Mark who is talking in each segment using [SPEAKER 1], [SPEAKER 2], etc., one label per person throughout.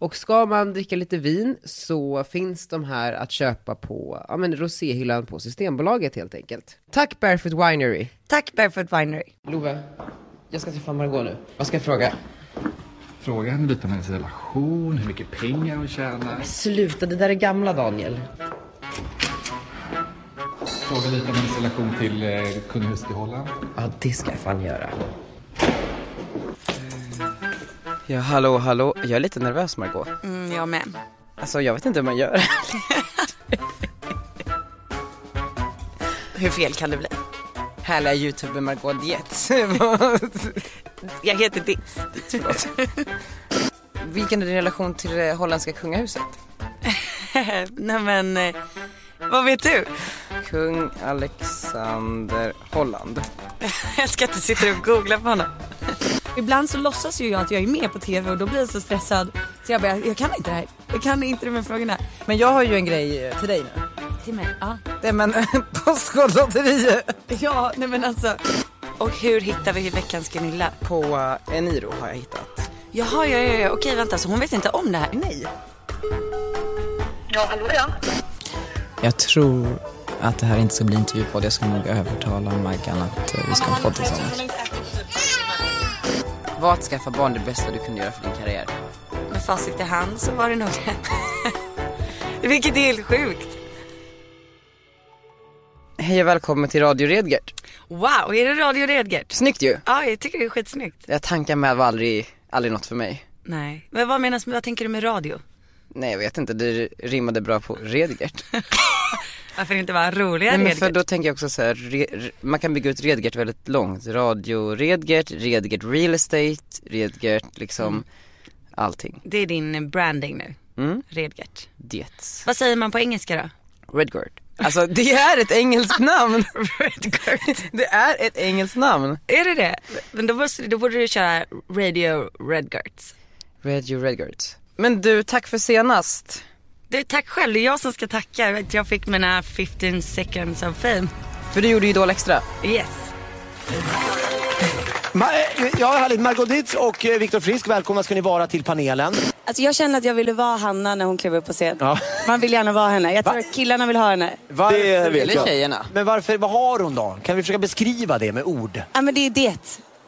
[SPEAKER 1] Och ska man dricka lite vin så finns de här att köpa på ja, men roséhyllan på Systembolaget helt enkelt. Tack Barefoot Winery!
[SPEAKER 2] Tack Barefoot Winery.
[SPEAKER 1] Love, jag ska träffa Margot nu. Vad ska jag fråga?
[SPEAKER 3] Fråga henne lite om hennes relation, hur mycket pengar hon tjänar.
[SPEAKER 1] Sluta, det där är gamla Daniel.
[SPEAKER 3] Fråga lite om hennes relation till eh, kungahuset i Holland.
[SPEAKER 1] Ja, det ska jag fan göra. Ja, hallå, hallå. Jag är lite nervös Margot.
[SPEAKER 2] Mm, jag med.
[SPEAKER 1] Alltså, jag vet inte hur man gör.
[SPEAKER 2] Hur fel kan det bli?
[SPEAKER 1] Härliga youtuber Margot Dietz.
[SPEAKER 2] Jag heter Ditt.
[SPEAKER 1] Vilken är din relation till det holländska kungahuset?
[SPEAKER 2] Nej men, eh, vad vet du?
[SPEAKER 1] Kung Alexander Holland.
[SPEAKER 2] Jag älskar att du sitter och googlar på honom.
[SPEAKER 4] Ibland så låtsas ju jag att jag är med på TV och då blir jag så stressad så jag bara, jag kan inte det här. Jag kan inte de här frågorna.
[SPEAKER 5] Men jag har ju en grej eh, till dig nu.
[SPEAKER 4] Till mig? Ja.
[SPEAKER 5] Nej men Postkodlotteriet.
[SPEAKER 4] Ja, nej men alltså.
[SPEAKER 2] Och hur hittar vi veckans Gunilla?
[SPEAKER 1] På eh, Eniro har jag hittat.
[SPEAKER 2] Jaha, ja, ja, ja. okej vänta, så hon vet inte om det här?
[SPEAKER 1] Nej.
[SPEAKER 6] Ja, hallå ja.
[SPEAKER 5] Jag tror att det här inte ska bli en intervjupodd. Jag ska nog övertala Maggan att eh, vi ska ha en podd tillsammans.
[SPEAKER 1] Var att skaffa barn det bästa du kunde göra för din karriär?
[SPEAKER 2] Med facit i hand så var det nog det. Vilket är helt sjukt.
[SPEAKER 1] Hej och välkommen till Radio Redgert.
[SPEAKER 2] Wow, är det Radio Redgert?
[SPEAKER 1] Snyggt ju.
[SPEAKER 2] Ja, jag tycker det är skitsnyggt.
[SPEAKER 1] Jag tankar med var aldrig, aldrig något för mig.
[SPEAKER 2] Nej, men vad menas med, vad tänker du med radio?
[SPEAKER 1] Nej jag vet inte, det rimmade bra på Redgert.
[SPEAKER 2] Varför inte bara roliga
[SPEAKER 1] Nej, men
[SPEAKER 2] Redgert?
[SPEAKER 1] för då tänker jag också så här, re, re- man kan bygga ut Redgert väldigt långt. Radio Redgert, Redgert Real Estate, Redgert liksom allting.
[SPEAKER 2] Det är din branding nu.
[SPEAKER 1] Mm.
[SPEAKER 2] Redgert.
[SPEAKER 1] Diets.
[SPEAKER 2] Vad säger man på engelska då?
[SPEAKER 1] Redgert. Alltså det är ett engelskt namn. Redgert. Det är ett engelskt namn.
[SPEAKER 2] Är det det? Men då, måste, då borde du köra Radio Redgert.
[SPEAKER 1] Radio Redgert. Men du, tack för senast.
[SPEAKER 2] Du, tack själv, det är jag som ska tacka. Vet, Jag fick mina 15 seconds of fame.
[SPEAKER 1] För du gjorde ju Idol Extra.
[SPEAKER 2] Yes.
[SPEAKER 7] Ma- eh, ja, härligt. Margot Dietz och eh, Viktor Frisk, välkomna ska ni vara till panelen.
[SPEAKER 8] Alltså jag kände att jag ville vara Hanna när hon klev upp på scen.
[SPEAKER 7] Ja.
[SPEAKER 8] Man vill gärna vara henne. Jag tror att killarna vill ha henne.
[SPEAKER 7] Varför, det
[SPEAKER 1] Eller tjejerna.
[SPEAKER 7] Men varför, vad har hon då? Kan vi försöka beskriva det med ord?
[SPEAKER 8] Ja men det är det.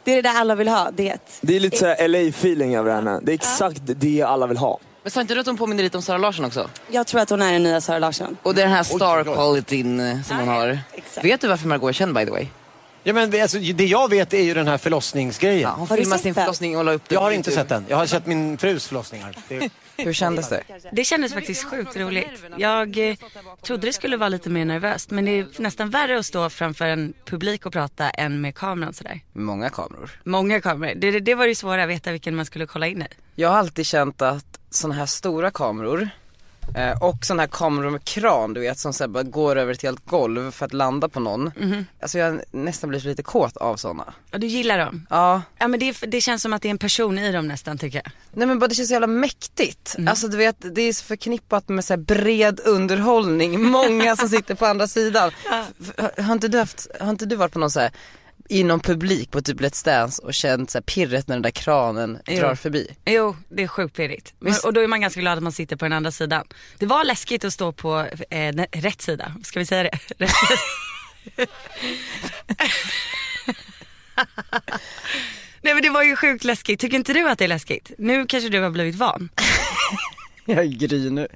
[SPEAKER 8] Det är det där alla vill ha. Det.
[SPEAKER 9] Det är lite såhär LA-feeling över henne. Det är exakt det alla vill ha.
[SPEAKER 5] Men sa inte du att de påminner lite om Sara Larsson också?
[SPEAKER 8] Jag tror att hon är den nya Sara Larsson.
[SPEAKER 5] Och det är den här star qualityn eh, som hon har.
[SPEAKER 8] exakt.
[SPEAKER 5] Vet du varför Margot är känd by the way?
[SPEAKER 7] Ja, men, alltså, det jag vet är ju den här förlossningsgrejen.
[SPEAKER 5] Hon
[SPEAKER 8] Har du
[SPEAKER 5] filmade
[SPEAKER 8] sett
[SPEAKER 5] sin
[SPEAKER 8] den?
[SPEAKER 5] förlossning och la upp den
[SPEAKER 7] Jag
[SPEAKER 5] på
[SPEAKER 7] har inte
[SPEAKER 5] YouTube.
[SPEAKER 7] sett den. Jag har sett min frus förlossningar. Det,
[SPEAKER 1] Hur kändes det?
[SPEAKER 2] Det kändes faktiskt sjukt roligt. Jag eh, trodde det skulle vara lite mer nervöst men det är nästan värre att stå framför en publik och prata än med kameran sådär.
[SPEAKER 1] Många kameror.
[SPEAKER 2] Många kameror. Det, det, det var ju svåra att veta vilken man skulle kolla in i.
[SPEAKER 1] Jag har alltid känt att sådana här stora kameror eh, och sådana här kameror med kran du vet som så här bara går över ett helt golv för att landa på någon. Alltså jag har nästan blivit lite kåt av sådana.
[SPEAKER 2] Och du gillar dem?
[SPEAKER 1] Ja,
[SPEAKER 2] Ja men det, är- det känns som att det är en person i dem nästan tycker jag.
[SPEAKER 1] nej men bara det känns så jävla mäktigt. Alltså du vet det är så förknippat med så här bred underhållning, många som sitter på andra sidan. F- f- Har inte du haft, har inte du varit på någon så här i någon publik på typ Let's Dance och känt så här pirret när den där kranen drar förbi?
[SPEAKER 2] Jo, det är sjukt pirrigt. Men,
[SPEAKER 1] Visst.
[SPEAKER 2] och då är man ganska glad att man sitter på den andra sidan. Det var läskigt att stå på eh, den- rätt sida, ska vi säga det? Rätt sida. Nej men det var ju sjukt läskigt. Tycker inte du att det är läskigt? Nu kanske du har blivit van.
[SPEAKER 1] Jag är gry nu.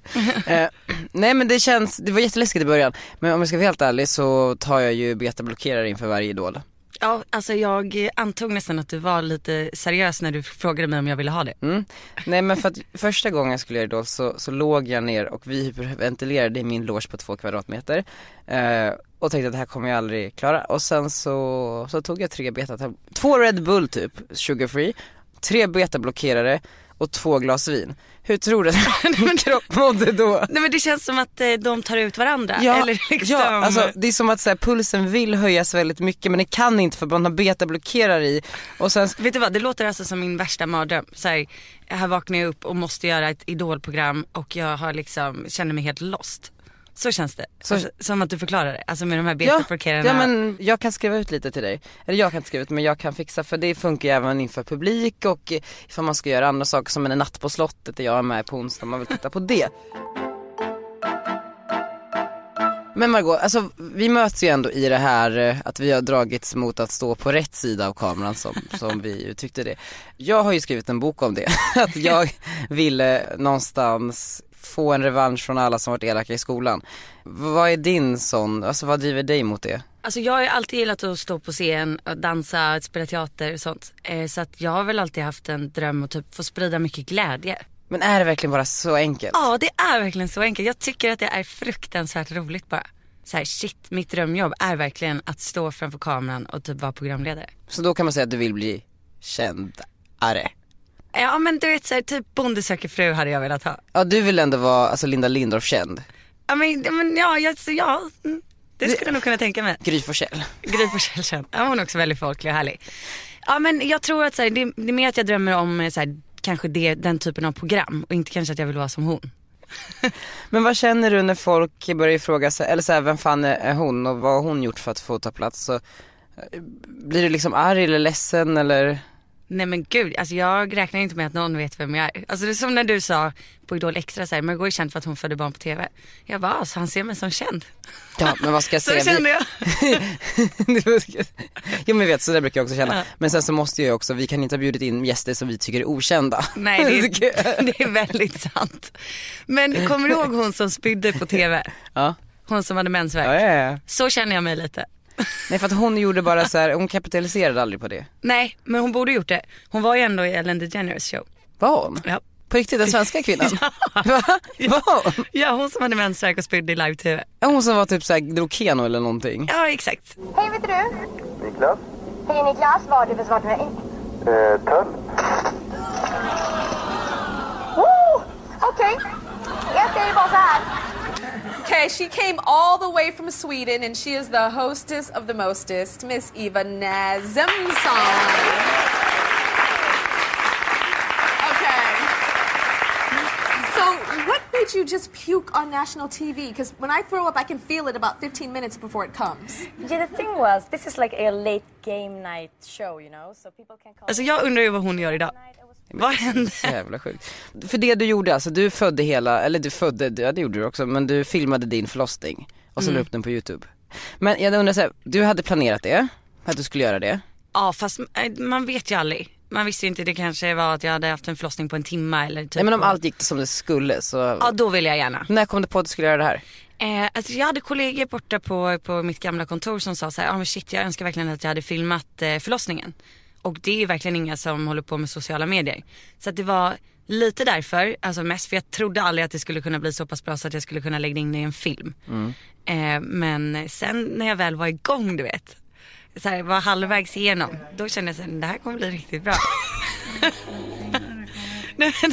[SPEAKER 1] eh, nej men det känns, det var jätteläskigt i början. Men om jag ska vara helt ärlig så tar jag ju betablockerare inför varje idol.
[SPEAKER 2] Ja, alltså jag eh, antog nästan att du var lite seriös när du frågade mig om jag ville ha det.
[SPEAKER 1] Mm. Nej men för att första gången jag skulle göra idol så, så låg jag ner och vi hyperventilerade i min loge på två kvadratmeter. Eh, och tänkte att det här kommer jag aldrig klara. Och sen så, så tog jag tre beta, två Red Bull typ, sugar free, tre betablockerare och två glas vin. Hur tror du att min kropp mådde då?
[SPEAKER 2] Nej men det känns som att eh, de tar ut varandra.
[SPEAKER 1] Ja,
[SPEAKER 2] Eller liksom...
[SPEAKER 1] ja alltså, det är som att så här, pulsen vill höjas väldigt mycket men det kan inte för man har betablockerare i. Och sen,
[SPEAKER 2] Vet du vad, det låter alltså som min värsta mardröm. Så här, här vaknar jag upp och måste göra ett idolprogram och jag har liksom, känner mig helt lost. Så känns det. Alltså, som att du förklarar det. Alltså med de här
[SPEAKER 1] ja,
[SPEAKER 2] betablockerarna.
[SPEAKER 1] ja, men jag kan skriva ut lite till dig. Eller jag kan inte skriva ut men jag kan fixa för det funkar ju även inför publik och eh, ifall man ska göra andra saker som en natt på slottet där jag är med på onsdag om man vill titta på det. Men Margot, alltså, vi möts ju ändå i det här eh, att vi har dragits mot att stå på rätt sida av kameran som, som vi uttryckte det. Jag har ju skrivit en bok om det, att jag ville någonstans få en revansch från alla som varit elaka i skolan. Vad är din sån, alltså vad driver dig mot det?
[SPEAKER 2] Alltså jag har ju alltid gillat att stå på scen, och dansa, spela teater och sånt. Eh, så att jag har väl alltid haft en dröm att typ få sprida mycket glädje.
[SPEAKER 1] Men är det verkligen bara så enkelt?
[SPEAKER 2] Ja, det är verkligen så enkelt. Jag tycker att det är fruktansvärt roligt bara. Så här, shit, mitt drömjobb är verkligen att stå framför kameran och typ vara programledare.
[SPEAKER 1] Så då kan man säga att du vill bli kändare.
[SPEAKER 2] Ja men du vet så här, typ Bonde söker fru hade jag velat ha.
[SPEAKER 1] Ja du vill ändå vara alltså Linda Lindorff känd,
[SPEAKER 2] Ja men, ja, men ja, jag, så, ja mm, det skulle jag nog kunna tänka mig.
[SPEAKER 1] Gry Forssell.
[SPEAKER 2] Gry Forssell känd. Ja, hon är också väldigt folklig och härlig. Ja men jag tror att så här, det, det är mer att jag drömmer om eh, så här, kanske det, den typen av program och inte kanske att jag vill vara som hon.
[SPEAKER 1] Men vad känner du när folk börjar fråga sig, eller så här, vem fan är hon och vad har hon gjort för att få ta plats? Så, eh, blir du liksom arg eller ledsen eller?
[SPEAKER 2] Nej men gud, alltså jag räknar inte med att någon vet vem jag är. Alltså det är som när du sa på Idol Extra så här, Margot är känd för att hon födde barn på TV. Jag bara, alltså han ser mig som känd.
[SPEAKER 1] Ja men vad ska jag
[SPEAKER 2] Så
[SPEAKER 1] säga?
[SPEAKER 2] kände jag.
[SPEAKER 1] Det var- jo men jag vet, så där brukar jag också känna. Men sen så måste jag ju också, vi kan inte ha bjudit in gäster som vi tycker är okända.
[SPEAKER 2] Nej det är, det är väldigt sant. Men kommer du ihåg hon som spydde på TV?
[SPEAKER 1] Ja.
[SPEAKER 2] Hon som hade mensvärk.
[SPEAKER 1] Ja, ja, ja.
[SPEAKER 2] Så känner jag mig lite.
[SPEAKER 1] Nej för att hon gjorde bara så här, hon kapitaliserade aldrig på det.
[SPEAKER 2] Nej, men hon borde gjort det. Hon var ju ändå i Ellen DeGeneres show.
[SPEAKER 1] Var hon?
[SPEAKER 2] Ja.
[SPEAKER 1] På riktigt, den svenska kvinnan? Va? Var hon?
[SPEAKER 2] Ja, hon som hade mensvärk och spydde i live-tv.
[SPEAKER 1] Ja, Hon som var typ såhär, drog Keno eller någonting.
[SPEAKER 2] Ja, exakt.
[SPEAKER 10] Hej, vet du?
[SPEAKER 9] Niklas?
[SPEAKER 10] Hej Niklas, vad har du för svart mig?
[SPEAKER 9] Eh, Töll?
[SPEAKER 10] Oh, Okej, jag säger bara så här. Okay, she came all the way from Sweden and she is the hostess of the mostest, Miss Eva Nazimson. Okay. So, what made you just puke on national TV? Because when I throw up, I can feel it about 15 minutes before it comes.
[SPEAKER 6] Yeah, the thing was, this is like a late game night show, you know, so people can call.
[SPEAKER 2] Alltså jag undrar ju vad hon gör idag. Vad hände?
[SPEAKER 1] Så jävla sjukt. För det du gjorde alltså, du födde hela, eller du födde, ja det gjorde du också, men du filmade din förlossning och så la upp den på youtube. Men jag undrar såhär, du hade planerat det, att du skulle göra det.
[SPEAKER 2] Ja, fast eh, man vet ju aldrig. Man visste ju inte, det kanske var att jag hade haft en förlossning på en timme eller typ.
[SPEAKER 1] Nej men om allt gick som det skulle så,
[SPEAKER 2] Ja, då vill jag gärna.
[SPEAKER 1] när kom du på att du skulle göra det här?
[SPEAKER 2] Eh, alltså jag hade kollegor borta på, på mitt gamla kontor som sa så här, ah, men shit jag önskar verkligen att jag hade filmat eh, förlossningen. Och det är ju verkligen inga som håller på med sociala medier. Så att det var lite därför, alltså mest för jag trodde aldrig att det skulle kunna bli så pass bra så att jag skulle kunna lägga in det i en film. Eh, men sen när jag väl var igång du vet, så här, var halvvägs igenom, då kände jag så här, det här kommer bli riktigt bra. Nej, men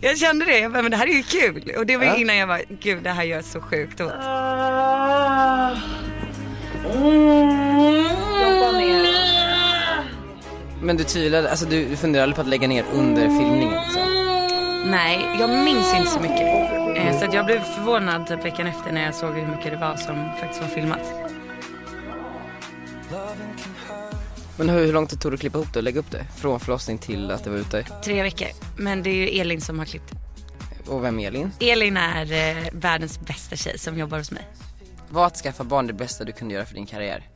[SPEAKER 2] jag kände det, jag bara, men det här är ju kul. Och det var ju innan jag var gud det här gör så sjukt ont.
[SPEAKER 1] Men du tvivlade, alltså du funderade aldrig på att lägga ner under filmningen liksom.
[SPEAKER 2] Nej, jag minns inte så mycket. Eh, Så att jag blev förvånad typ veckan efter när jag såg hur mycket det var som faktiskt var filmat.
[SPEAKER 1] Men hur, hur lång tid tog det att klippa ihop det och lägga upp det? Från förlossning till att det var ute.
[SPEAKER 2] Tre veckor. Men det är ju Elin som har klippt.
[SPEAKER 1] Och vem är Elin?
[SPEAKER 2] Elin är eh, världens bästa tjej som jobbar hos mig.
[SPEAKER 1] Var att skaffa barn det bästa du kunde göra för din karriär?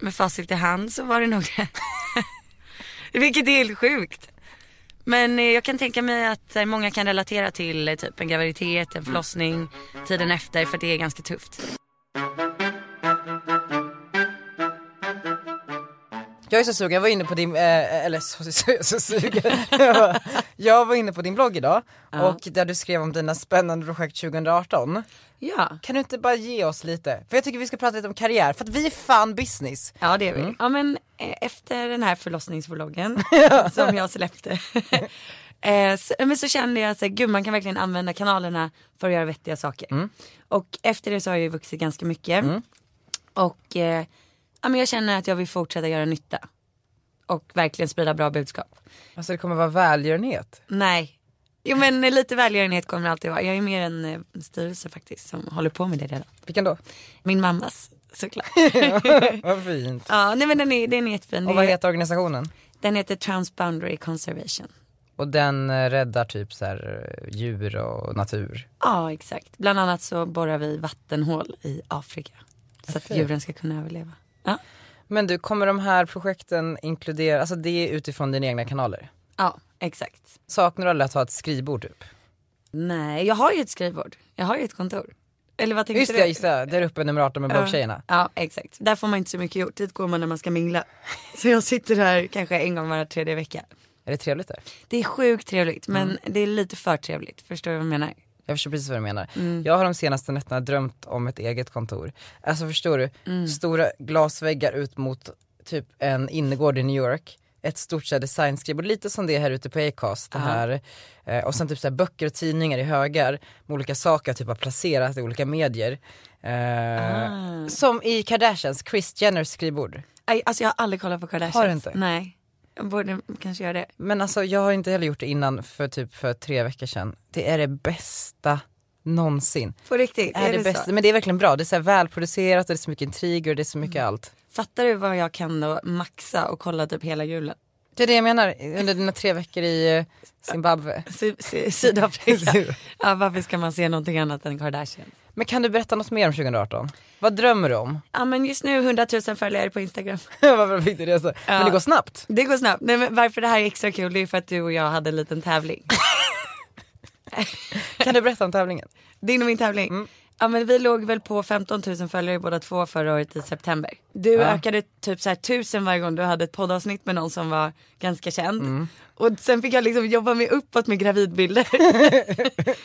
[SPEAKER 2] Med facit i hand så var det nog det. Vilket är helt sjukt. Men eh, jag kan tänka mig att eh, många kan relatera till eh, typ en graviditet, en förlossning, tiden efter för det är ganska tufft.
[SPEAKER 1] Jag är så sugen, jag var inne på din, eh, eller så, så, jag är så sugen. Jag var- jag var inne på din blogg idag och där du skrev om dina spännande projekt 2018.
[SPEAKER 4] Ja.
[SPEAKER 1] Kan du inte bara ge oss lite? För jag tycker vi ska prata lite om karriär, för att vi är fan business.
[SPEAKER 4] Ja det är vi.
[SPEAKER 1] Mm.
[SPEAKER 4] Ja men eh, efter den här förlossningsvloggen som jag släppte
[SPEAKER 2] Eh, så, men så kände jag att gud man kan verkligen använda kanalerna för att göra vettiga saker.
[SPEAKER 1] Mm.
[SPEAKER 2] Och efter det så har jag ju vuxit ganska mycket. Och eh, ja, men jag känner att jag vill fortsätta göra nytta. Och verkligen sprida bra budskap.
[SPEAKER 1] Alltså det kommer vara välgörenhet.
[SPEAKER 2] Nej. Jo men lite välgörenhet kommer det alltid vara. Jag är mer en eh, styrelse faktiskt som håller på med det redan.
[SPEAKER 1] Vilken då?
[SPEAKER 2] Min mammas såklart.
[SPEAKER 1] Vad fint.
[SPEAKER 2] ja nej men den är, den är jättefin.
[SPEAKER 1] Och vad heter organisationen?
[SPEAKER 2] Den heter Transboundary Conservation.
[SPEAKER 1] Och den eh, räddar typ så här eh, djur och natur.
[SPEAKER 2] Ja exakt. Bland annat så borrar vi vattenhål i Afrika. Så att djuren ska kunna överleva. Ja.
[SPEAKER 1] Men du, kommer de här projekten inkludera, alltså det är utifrån dina egna kanaler?
[SPEAKER 2] ja exakt.
[SPEAKER 1] Saknar du aldrig att ha ett skrivbord typ?
[SPEAKER 2] Nej jag har ju ett skrivbord. Jag har ju ett kontor. Eller vad tänkte
[SPEAKER 1] Just
[SPEAKER 2] du?
[SPEAKER 1] det, just det. Där uppe nummer 18 med blogg-tjejerna.
[SPEAKER 2] Ja exakt. Där får man inte så mycket gjort. Dit går man när man ska mingla. Så jag sitter här kanske en gång var tredje vecka.
[SPEAKER 1] Är det trevligt där?
[SPEAKER 2] Det är sjukt trevligt
[SPEAKER 1] Mm.
[SPEAKER 2] men det är lite för trevligt. Förstår du vad jag menar?
[SPEAKER 1] Jag förstår precis vad du menar. Jag har de senaste nätterna drömt om ett eget kontor. Alltså förstår du, stora glasväggar ut mot typ en innergård i New York. Ett stort så här designskriv, lite som det är här ute på Acast. Det här. Eh, och sen typ så här böcker och tidningar i högar med olika saker jag typ har placerat i olika medier. Eh, Som i Kardashians, Kris Jenners skrivbord.
[SPEAKER 2] Aj, Alltså jag har aldrig kollat på Kardashians.
[SPEAKER 1] Har du inte?
[SPEAKER 2] Nej. Jag borde kanske göra det.
[SPEAKER 1] Men alltså jag har inte heller gjort det innan för typ för tre veckor sedan. Det är det bästa någonsin.
[SPEAKER 2] På riktigt?
[SPEAKER 1] är, det bästa,
[SPEAKER 2] så?
[SPEAKER 1] men det är verkligen bra. Det är så här välproducerat och det är så mycket intriger och det är så mycket allt.
[SPEAKER 2] Fattar du vad jag kan då maxa och kolla typ hela julen?
[SPEAKER 1] Det är det jag menar, under dina tre veckor i eh, Zimbabwe.
[SPEAKER 2] Sy- sy- Sydafrika. ja, varför ska man se någonting annat än Kardashian?
[SPEAKER 1] Men kan du berätta något mer om 2018? Vad drömmer du om?
[SPEAKER 2] Ja men just nu 100 000 följare på Instagram.
[SPEAKER 1] Varför fick du det så? Men det går snabbt.
[SPEAKER 2] Det går snabbt. Nej, men varför det här är extra kul det är för att du och jag hade en liten tävling.
[SPEAKER 1] Kan du berätta om tävlingen?
[SPEAKER 2] Din och min tävling. Ja men vi låg väl på 15 000 följare båda två förra året i september. Du ökade typ så här 1000 varje gång du hade ett poddavsnitt med någon som var ganska känd. Och sen fick jag liksom jobba mig uppåt med gravidbilder.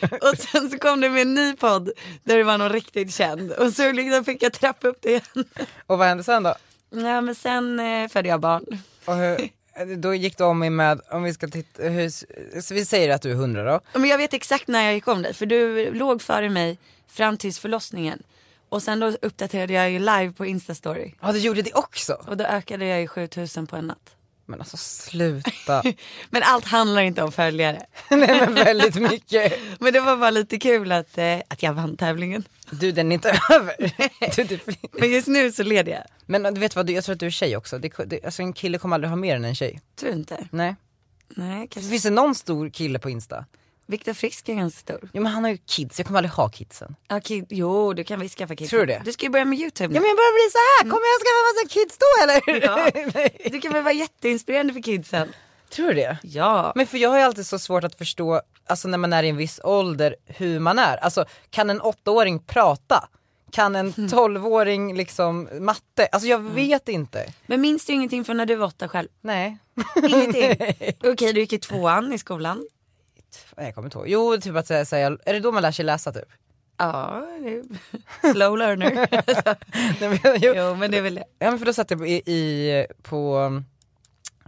[SPEAKER 2] och sen så kom du med en ny podd där du var någon riktigt känd. Och så liksom fick jag trappa upp det igen.
[SPEAKER 1] Och vad hände sen då?
[SPEAKER 2] Ja men sen eh, födde jag barn.
[SPEAKER 1] Och hur, då gick du om mig med, om vi ska titta, hur, så vi säger att du är 100 då.
[SPEAKER 2] Ja, Men jag vet exakt när jag gick om dig för du låg före mig fram tills förlossningen. Och sen då uppdaterade jag ju live på Instastory.
[SPEAKER 1] Ja du gjorde det också?
[SPEAKER 2] Och då ökade jag ju 7000 på en natt.
[SPEAKER 1] Men alltså sluta.
[SPEAKER 2] Men allt handlar inte om följare.
[SPEAKER 1] Nej men väldigt mycket.
[SPEAKER 2] Men det var bara lite kul att, eh, att jag vann tävlingen.
[SPEAKER 1] Du den är inte över. Du, du,
[SPEAKER 2] Men just nu så leder jag.
[SPEAKER 1] men äh, du vet vad, du- jag tror att du är tjej också. Det, det, alltså en kille kommer aldrig ha mer än en tjej.
[SPEAKER 2] Tror du inte?
[SPEAKER 1] Nej.
[SPEAKER 2] Nej, kanske.
[SPEAKER 1] Finns det någon stor kille på Insta?
[SPEAKER 2] Viktor Frisk är ganska stor.
[SPEAKER 1] Jo men han har ju kids, jag kommer aldrig ha kidsen.
[SPEAKER 2] Okej, jo du kan visst skaffa kids.
[SPEAKER 1] Tror du det?
[SPEAKER 2] Du ska ju börja med YouTube nu.
[SPEAKER 1] Ja men jag börjar bli så här. kommer jag skaffa massa kids då eller? Nej.
[SPEAKER 2] Du kan väl vara jätteinspirerande för kidsen?
[SPEAKER 1] Tror du det?
[SPEAKER 2] Ja.
[SPEAKER 1] Men för jag har ju alltid så svårt att förstå, alltså när man är i en viss ålder, hur man är. Alltså kan en åttaåring prata? Kan en tolvåring liksom matte? Alltså jag vet inte.
[SPEAKER 2] Men minns du ingenting från när du var åtta själv?
[SPEAKER 1] Nej.
[SPEAKER 2] Ingenting? Okej, du gick i tvåan i skolan.
[SPEAKER 1] Nej, Jag kommer inte ihåg. Jo typ att säga, säga, är det då man lär sig läsa typ?
[SPEAKER 2] Ja, det- slow learner.
[SPEAKER 1] Nej, men, jo.
[SPEAKER 2] jo men det är väl det.
[SPEAKER 1] Ja men för då satt jag i, i, på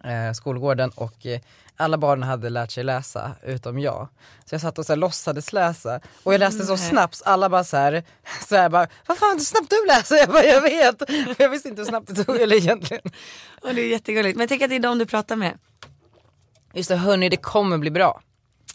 [SPEAKER 1] eh, skolgården och eh, alla barnen hade lärt sig läsa utom jag. Så jag satt och så här, låtsades läsa och jag läste så snabbt så alla bara så här, så här bara, vad fan hur snabbt du läser? Jag bara, jag vet. För jag visste inte hur snabbt det tog eller egentligen.
[SPEAKER 2] Och det är jättegulligt. Men tänk att det är de du pratar med.
[SPEAKER 1] Just det hörni det kommer bli bra.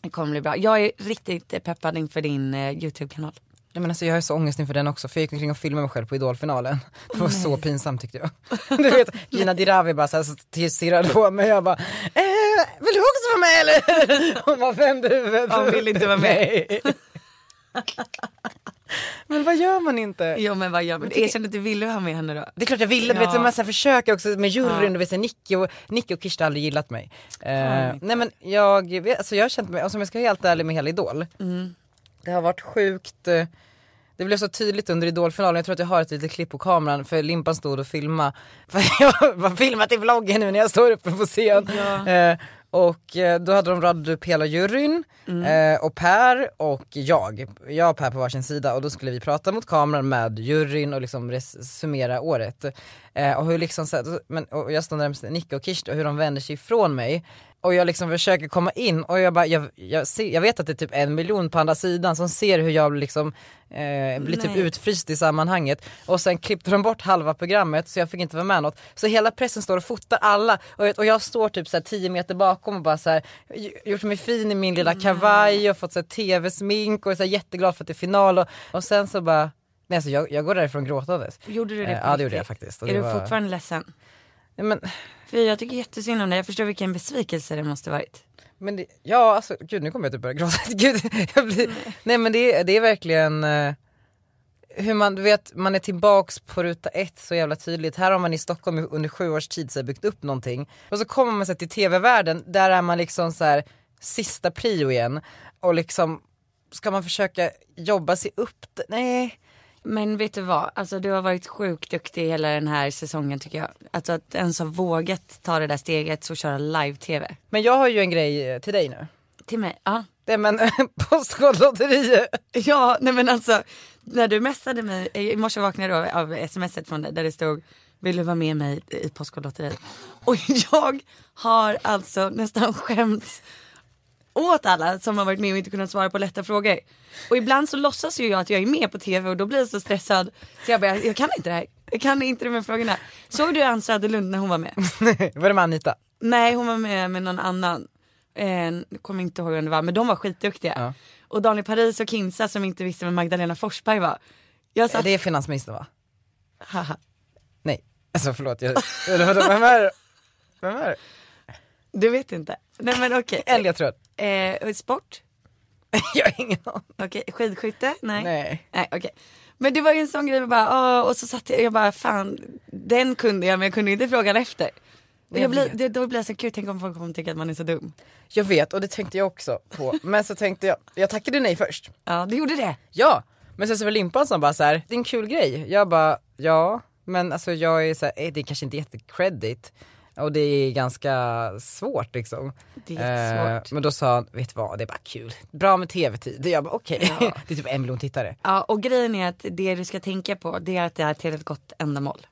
[SPEAKER 2] Det kommer bli bra. Jag är riktigt eh, peppad inför din eh, YouTube-kanal.
[SPEAKER 1] Nej, men alltså, jag har så ångest inför den också för jag gick omkring och filmade mig själv på idolfinalen. Det var så pinsamt tyckte jag. Du vet Gina Dirawi bara så här så stirrade på mig jag bara eh, vill du också vara med eller? Hon bara vände huvudet.
[SPEAKER 2] Hon vill inte vara med.
[SPEAKER 1] Nej. men vad gör man inte?
[SPEAKER 2] Jo men vad gör man? Erkänn att du ville ha med henne då.
[SPEAKER 1] Det är klart jag ville, du vet
[SPEAKER 2] Ja.
[SPEAKER 1] man så här försöker också med juryn, du vet så här, Nicky och, Nicky och Kirsta har aldrig gillat mig. Eh, nej men jag, vet- alltså jag har känt mig, alltså om jag ska vara helt ärlig med hela Idol.
[SPEAKER 2] Mm.
[SPEAKER 1] Det har varit sjukt, eh, det blev så tydligt under Idolfinalen, jag tror att jag har ett litet klipp på kameran för Limpan stod och filmade, för jag har filmat i vloggen nu när jag står uppe på scen. Eh, och eh, då hade de radat upp hela juryn eh, och Per och jag, jag och Per på varsin sida och då skulle vi prata mot kameran med juryn och liksom res- summera året. Eh, och hur liksom, så här, men, och jag stod närmast Nicke och Kirst och hur de vänder sig ifrån mig och jag liksom försöker komma in och jag bara, jag, jag, ser, jag vet att det är typ en miljon på andra sidan som ser hur jag liksom eh, blir typ
[SPEAKER 4] Nej.
[SPEAKER 1] utfryst i sammanhanget och sen klippte de bort halva programmet så jag fick inte vara med något. Så hela pressen står och fotar alla och, jag- och jag står typ såhär 10 meter bakom och bara såhär gjort mig fin i min lilla kavaj och fått såhär tv-smink och såhär jätteglad för att det är final och, och sen så bara, nej alltså jag, jag går därifrån gråtandes.
[SPEAKER 2] Gjorde du det
[SPEAKER 1] Eh,
[SPEAKER 2] på
[SPEAKER 1] Ja det gjorde
[SPEAKER 2] riktigt?
[SPEAKER 1] jag faktiskt. Och
[SPEAKER 2] Är
[SPEAKER 1] det
[SPEAKER 2] du
[SPEAKER 1] var-
[SPEAKER 2] fortfarande ledsen?
[SPEAKER 1] Nej, men,
[SPEAKER 2] För jag tycker jättesynd om dig, jag förstår vilken besvikelse det måste varit.
[SPEAKER 1] Men det, ja alltså gud nu kommer jag typ börja gråta. Gud, jag blir, nej men det, är- det är verkligen eh, hur man, du vet man är tillbaks på ruta ett så jävla tydligt. Här har man i Stockholm i- under sju års tid så här, byggt upp någonting. Och så kommer man sig till tv-världen, där är man liksom så här sista prio igen. Och liksom ska man försöka jobba sig upp, det- nej.
[SPEAKER 2] Men vet du vad, alltså du har varit sjukt duktig hela den här säsongen tycker jag. Alltså att ens ha vågat ta det där steget och köra live-tv.
[SPEAKER 1] Men jag har ju en grej eh, till dig nu.
[SPEAKER 2] Till mig, ja.
[SPEAKER 1] Det är men Postkodlotteriet.
[SPEAKER 2] Ja, nej men alltså när du messade mig, eh, i morse vaknade jag då av smset från dig där det stod vill du vara med mig i Postkodlotteriet? Och jag har alltså nästan skämts åt alla som har varit med och inte kunnat svara på lätta frågor. Och ibland så låtsas ju jag att jag är med på tv och då blir jag så stressad så jag bara, jag kan inte det här. Jag kan inte de här frågorna. Såg du Ann Söderlund när hon var med?
[SPEAKER 1] Var det med Anita?
[SPEAKER 2] Nej hon var med med någon annan. Eh, jag kommer inte ihåg vem det var men de var skitduktiga. Och Daniel Paris och Kinsa som inte visste vem Magdalena Forsberg var. Jag
[SPEAKER 1] Eh,
[SPEAKER 2] satt,
[SPEAKER 1] Det är finansministern va?
[SPEAKER 2] haha.
[SPEAKER 1] Nej, alltså förlåt. Jag, eller vadå, vem är det? Vem är det?
[SPEAKER 2] Du vet inte. Nej men okej.
[SPEAKER 1] Elliot tror jag.
[SPEAKER 2] Eh, sport?
[SPEAKER 1] Jag har ingen aning.
[SPEAKER 2] Okej. Skidskytte? Nej.
[SPEAKER 1] Nej.
[SPEAKER 2] Nej okej. Men det var ju en sån grej, jag bara, "Åh", och så satt jag, jag bara fan den kunde jag men jag kunde inte frågan efter. Och jag blir, det, då blir jag så gud tänk om folk kommer tycka att man är så dum.
[SPEAKER 1] Jag vet och det tänkte jag också på. Men så tänkte jag, jag tackade nej först.
[SPEAKER 2] Ja du gjorde det.
[SPEAKER 1] Ja, men sen så var Limpan som bara så här, det är en kul grej. Jag bara, ja, men alltså jag är så här, eh, det är kanske inte jättecredit. Och det är ganska svårt liksom.
[SPEAKER 2] Det är
[SPEAKER 1] Eh,
[SPEAKER 2] svårt.
[SPEAKER 1] men då sa han, vet du vad, det är bara kul. Bra med tv-tid. Jag bara okej, det är typ en miljon tittare.
[SPEAKER 2] Ja och grejen är att det du ska tänka på det är att det är till ett gott ändamål.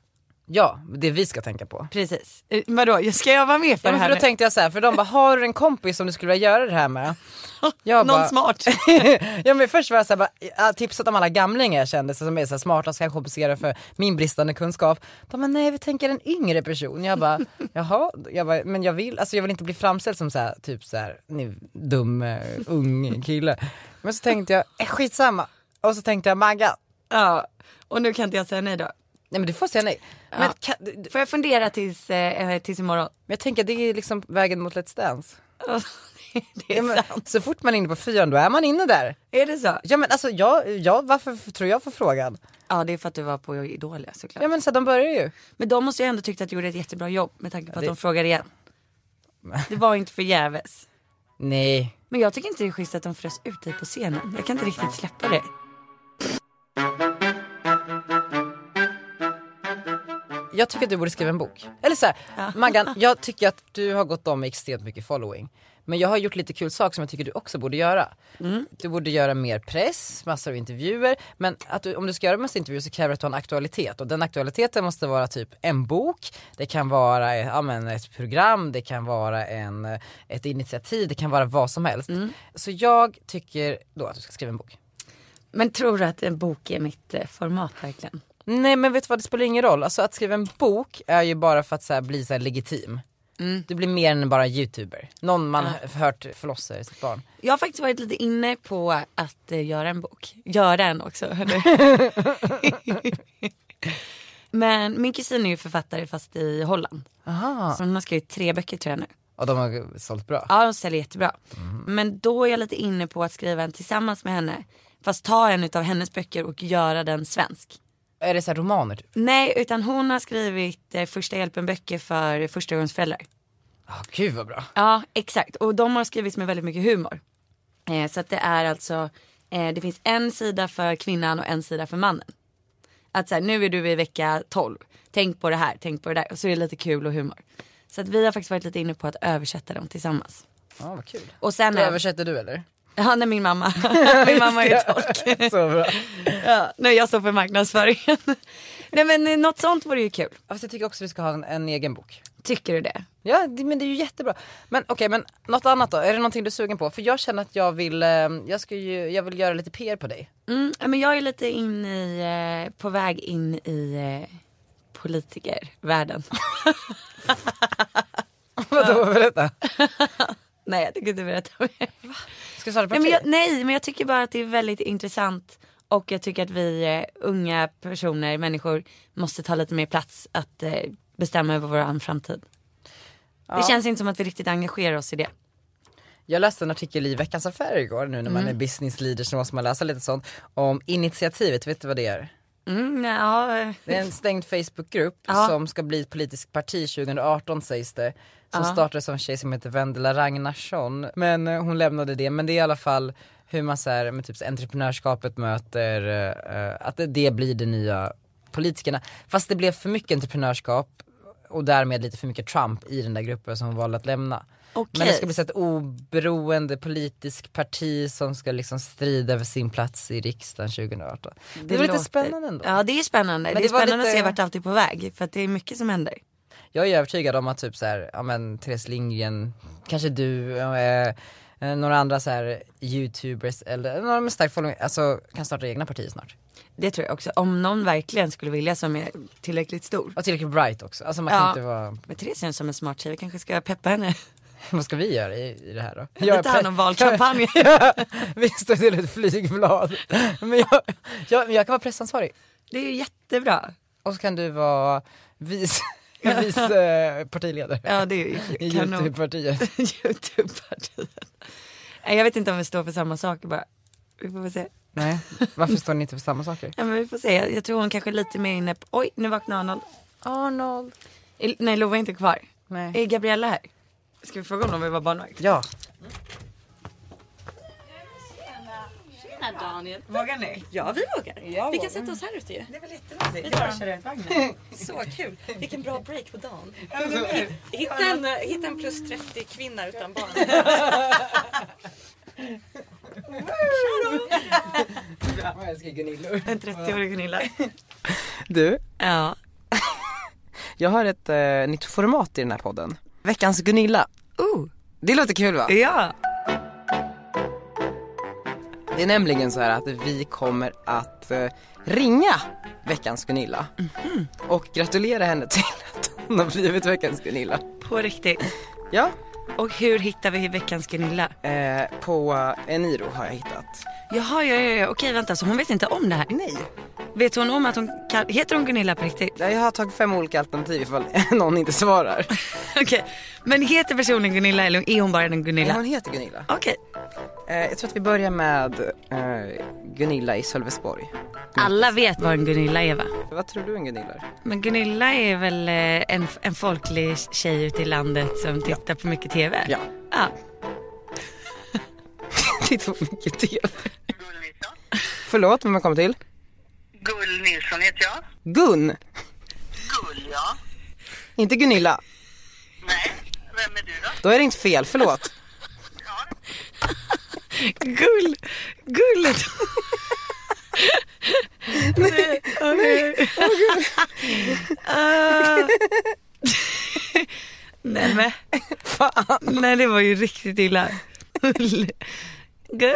[SPEAKER 1] Ja, det vi ska tänka på.
[SPEAKER 2] Precis. Eh, Vadå, ska jag vara med för
[SPEAKER 1] Ja, men
[SPEAKER 2] det
[SPEAKER 1] för
[SPEAKER 2] här
[SPEAKER 1] då
[SPEAKER 2] nu?
[SPEAKER 1] tänkte jag så här, för de bara, har du en kompis som du skulle vilja göra det här med? Jag
[SPEAKER 2] Någon
[SPEAKER 1] bara-
[SPEAKER 2] smart.
[SPEAKER 1] ja men först var jag såhär, jag äh, tipsat om alla gamlingar jag kände som är så här smarta ska kompensera för min bristande kunskap. De bara, nej vi tänker en yngre person. Jag bara, jaha, jag bara, men jag vill, alltså jag vill inte bli framställd som så här, typ så här, ni, dum eh, ung kille. Men så tänkte jag, eh, skitsamma. Och så tänkte jag, Magga,
[SPEAKER 2] Ja. Och nu kan inte jag säga nej då.
[SPEAKER 1] nej men du får säga nej. Men,
[SPEAKER 2] Ja.
[SPEAKER 1] kan, men
[SPEAKER 2] Får jag fundera tills, eh, tills imorgon?
[SPEAKER 1] jag tänker det är liksom vägen mot Let's Dance.
[SPEAKER 2] det är
[SPEAKER 1] Ja, men,
[SPEAKER 2] sant.
[SPEAKER 1] så fort man är inne på fyran då är man inne där.
[SPEAKER 2] Är det så?
[SPEAKER 1] Ja men alltså jag, jag varför tror jag får frågan?
[SPEAKER 2] Ja det är för att du var på Idol ja, såklart.
[SPEAKER 1] Ja men så här, de börjar ju.
[SPEAKER 2] Men de måste ju ändå tyckt att du gjorde ett jättebra jobb med tanke på att
[SPEAKER 1] det-
[SPEAKER 2] de frågar igen. Det var inte förgäves.
[SPEAKER 1] Nej,
[SPEAKER 2] Men jag tycker inte det är schysst att de frös ut dig på scenen. Jag kan inte riktigt släppa det.
[SPEAKER 1] jag tycker att du borde skriva en bok. Eller så här, Maggan, jag tycker att du har gått om med extremt mycket following. Men jag har gjort lite kul saker som jag tycker du också borde göra. Du borde göra mer press, massor av intervjuer. Men att du, om du ska göra massa intervjuer så kräver det att du har en aktualitet. Och den aktualiteten måste vara typ en bok, det kan vara eh, ja, men ett program, det kan vara en, eh, ett initiativ, det kan vara vad som helst. Så jag tycker då att du ska skriva en bok.
[SPEAKER 2] Men tror du att en bok är mitt eh, format verkligen?
[SPEAKER 1] Nej men vet du vad, det spelar ingen roll. Alltså att skriva en bok är ju bara för att så här, bli så här, legitim. Du blir mer än bara en youtuber. Någon man har hört förlossar sitt barn.
[SPEAKER 2] Jag har faktiskt varit lite inne på att eh, göra en bok. Göra en också. eller? Men min kusin är ju författare fast i Holland.
[SPEAKER 1] Aha.
[SPEAKER 2] Så hon har skrivit tre böcker tror jag nu.
[SPEAKER 1] Och de har sålt bra.
[SPEAKER 2] Ja de säljer jättebra. Men då är jag lite inne på att skriva en tillsammans med henne. Fast ta en utav hennes böcker och göra den svensk.
[SPEAKER 1] Är det så här romaner typ?
[SPEAKER 2] Nej utan hon har skrivit eh, första hjälpen böcker för förstagångsföräldrar.
[SPEAKER 1] Ja gud vad bra.
[SPEAKER 2] Ja exakt och de har skrivits med väldigt mycket humor. Eh, så att det är alltså, eh, det finns en sida för kvinnan och en sida för mannen. Att så här, nu är du i vecka 12, tänk på det här, tänk på det där och så är det lite kul och humor. Så att vi har faktiskt varit lite inne på att översätta dem tillsammans.
[SPEAKER 1] Ja vad kul.
[SPEAKER 2] Och sen
[SPEAKER 1] Då
[SPEAKER 2] är-
[SPEAKER 1] översätter du eller?
[SPEAKER 2] Ja, nej, min mamma. min mamma är tolk.
[SPEAKER 1] så bra.
[SPEAKER 2] Ja, nej, jag står för marknadsföringen.
[SPEAKER 4] Nej men eh, något sånt vore ju kul.
[SPEAKER 1] Fast jag tycker också vi ska ha en, en egen bok.
[SPEAKER 4] Tycker du det?
[SPEAKER 1] Ja det, men det är ju jättebra. Men okej men något annat då, är det någonting du är sugen på? För jag känner att jag vill, eh, jag ska ju, jag vill göra lite PR på dig.
[SPEAKER 4] Mm, ja, men jag är lite in i, eh, på väg in i eh, politikervärlden.
[SPEAKER 1] Vadå berätta?
[SPEAKER 4] Nej jag tänker inte berätta mer.
[SPEAKER 1] Ska du starta
[SPEAKER 4] Nej
[SPEAKER 1] parti?
[SPEAKER 4] men, jag, nej men jag tycker bara att det är väldigt intressant och jag tycker att vi eh, unga personer, människor måste ta lite mer plats att eh, bestämma över vår framtid. Det känns inte som att vi riktigt engagerar oss i det.
[SPEAKER 1] Jag läste en artikel i Veckans Affärer igår nu när man är business leader så måste man läsa lite sånt. Om initiativet, vet du vad det är?
[SPEAKER 4] Mm, nej, ja, eh,
[SPEAKER 1] Det är en stängd Facebookgrupp som ska bli ett politiskt parti 2018 sägs det. Som startades av en tjej som heter Vendela Ragnarsson. Men eh, hon lämnade det. Men det är i alla fall hur man säger med typ så entreprenörskapet möter, eh, eh, att det- det blir de nya politikerna. Fast det blev för mycket entreprenörskap och därmed lite för mycket Trump i den där gruppen som hon valde att lämna. Men det
[SPEAKER 4] Okej.
[SPEAKER 1] ska bli så ett oberoende politiskt parti som ska liksom strida för sin plats i riksdagen 2018. Det, är väl lite
[SPEAKER 4] Mm, låter-
[SPEAKER 1] spännande ändå.
[SPEAKER 4] Ja det är spännande.
[SPEAKER 1] Men
[SPEAKER 4] det,
[SPEAKER 1] det
[SPEAKER 4] är
[SPEAKER 1] var
[SPEAKER 4] spännande att
[SPEAKER 1] lite-
[SPEAKER 4] se vart allt är på väg för att det är mycket som händer.
[SPEAKER 1] Jag är övertygad om att typ så här, ja men Therese Lindgren, kanske du, eh, eh, några andra så här youtubers eller några med stark following, alltså kan starta egna partier snart.
[SPEAKER 4] Det tror jag också. Om någon verkligen skulle vilja som är tillräckligt stor.
[SPEAKER 1] Och tillräckligt bright också, alltså man kan
[SPEAKER 4] Ja.
[SPEAKER 1] inte vara,
[SPEAKER 4] Men Therese känns som en smart tjej, vi kanske ska peppa henne.
[SPEAKER 1] vad ska vi göra i, i det här då?
[SPEAKER 4] Jag tar hand om valkampanjen.
[SPEAKER 1] Vi står till ett flygblad. Men jag, jag, men jag kan vara pressansvarig.
[SPEAKER 4] Det är ju jättebra.
[SPEAKER 1] Och så kan du vara vice, vice eh, partiledare
[SPEAKER 4] Ja det är ju
[SPEAKER 1] i
[SPEAKER 4] kanon.
[SPEAKER 1] youtube-partiet.
[SPEAKER 4] Youtube-partiet. Nej, Jag vet inte om vi står för samma saker bara. Vi får väl se.
[SPEAKER 1] Nej, varför står ni inte på samma saker?
[SPEAKER 4] Ja, men vi får se. Jag, jag tror hon kanske är lite mer inne på... Oj, nu vaknade Arnold.
[SPEAKER 1] Arnold.
[SPEAKER 4] El- Nej, Lova är inte kvar.
[SPEAKER 1] Nej.
[SPEAKER 4] Är Gabriella här? Ska vi fråga honom om vi var barnvakt?
[SPEAKER 1] Ja,
[SPEAKER 4] Vågar ni? Ja, vi vågar. vi kan sätta oss här ute ju. Det är väl jättemysigt. Vi tar och kör ut vagnen. Så kul. Vilken bra break på dagen. Hitta en, hitta en plus 30 kvinna utan barn.
[SPEAKER 1] jag älskar Gunillor.
[SPEAKER 4] En 30-årig Gunilla.
[SPEAKER 1] Du,
[SPEAKER 4] Ja.
[SPEAKER 1] jag har ett eh, nytt format i den här podden. Veckans Gunilla.
[SPEAKER 4] Oh.
[SPEAKER 1] Det låter kul va?
[SPEAKER 4] Ja.
[SPEAKER 1] Det är nämligen så här att vi kommer att eh, ringa veckans Gunilla. Och gratulera henne till att hon har blivit veckans Gunilla.
[SPEAKER 2] På riktigt.
[SPEAKER 1] Ja,
[SPEAKER 2] Och hur hittar vi veckans Gunilla?
[SPEAKER 1] eh, på eh, Eniro har jag hittat.
[SPEAKER 2] Jaha, ja, ja, ja. okej vänta så hon vet inte om det här? Nej. Vet hon om att hon kan... heter hon Gunilla på riktigt?
[SPEAKER 1] Jag har tagit fem olika alternativ ifall någon inte svarar.
[SPEAKER 2] okej. Men heter personen Gunilla eller är hon bara en
[SPEAKER 1] Men
[SPEAKER 2] Gunilla?
[SPEAKER 1] Hon heter Gunilla.
[SPEAKER 2] Okej.
[SPEAKER 1] Eh, jag tror att vi börjar med eh, Gunilla i Sölvesborg.
[SPEAKER 2] Alla vet vad en Gunilla är va?
[SPEAKER 1] Vad tror du en Gunilla är?
[SPEAKER 2] Men Gunilla är väl eh, en, en folklig tjej ute i landet som tittar på mycket TV?
[SPEAKER 1] Ja.
[SPEAKER 2] ja.
[SPEAKER 1] Titta på mycket TV. Förlåt, vem har kommit till?
[SPEAKER 11] Gull Nilsson heter jag.
[SPEAKER 1] Gun,
[SPEAKER 11] Gull, ja.
[SPEAKER 1] inte Gunilla.
[SPEAKER 11] Nej, vem är du då?
[SPEAKER 1] Då är det inte fel, förlåt.
[SPEAKER 2] Gull, gullet. nej, nej. nej. nej men. Fan. Nej det var ju riktigt illa. Gull. Gull.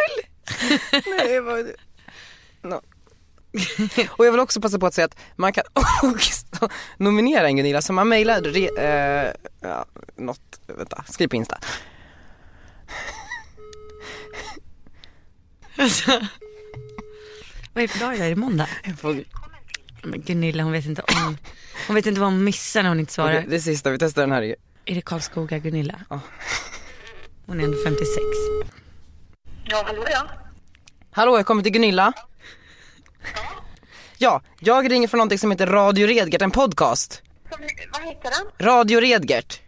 [SPEAKER 1] Nej, vad... no. Och jag vill också passa på att säga att man kan också nominera en Gunilla så man mejlar re- eh, ja, något, vänta, skriv på Insta.
[SPEAKER 2] Alltså. Vad är det för dag idag? Är det måndag? Men Gunilla hon vet inte om. Hon vet inte vad hon missar när hon inte svarar.
[SPEAKER 1] Okej, det sista, vi testar den här.
[SPEAKER 2] Är det Karlskoga Gunilla?
[SPEAKER 1] Ja.
[SPEAKER 2] Hon är ändå 56.
[SPEAKER 11] Ja, hallå ja.
[SPEAKER 1] Hallå, jag kommer till Gunilla. Ja, jag ringer från någonting som heter Radio Redgert, en podcast.
[SPEAKER 11] Som, vad heter den?
[SPEAKER 1] Radio Redgert.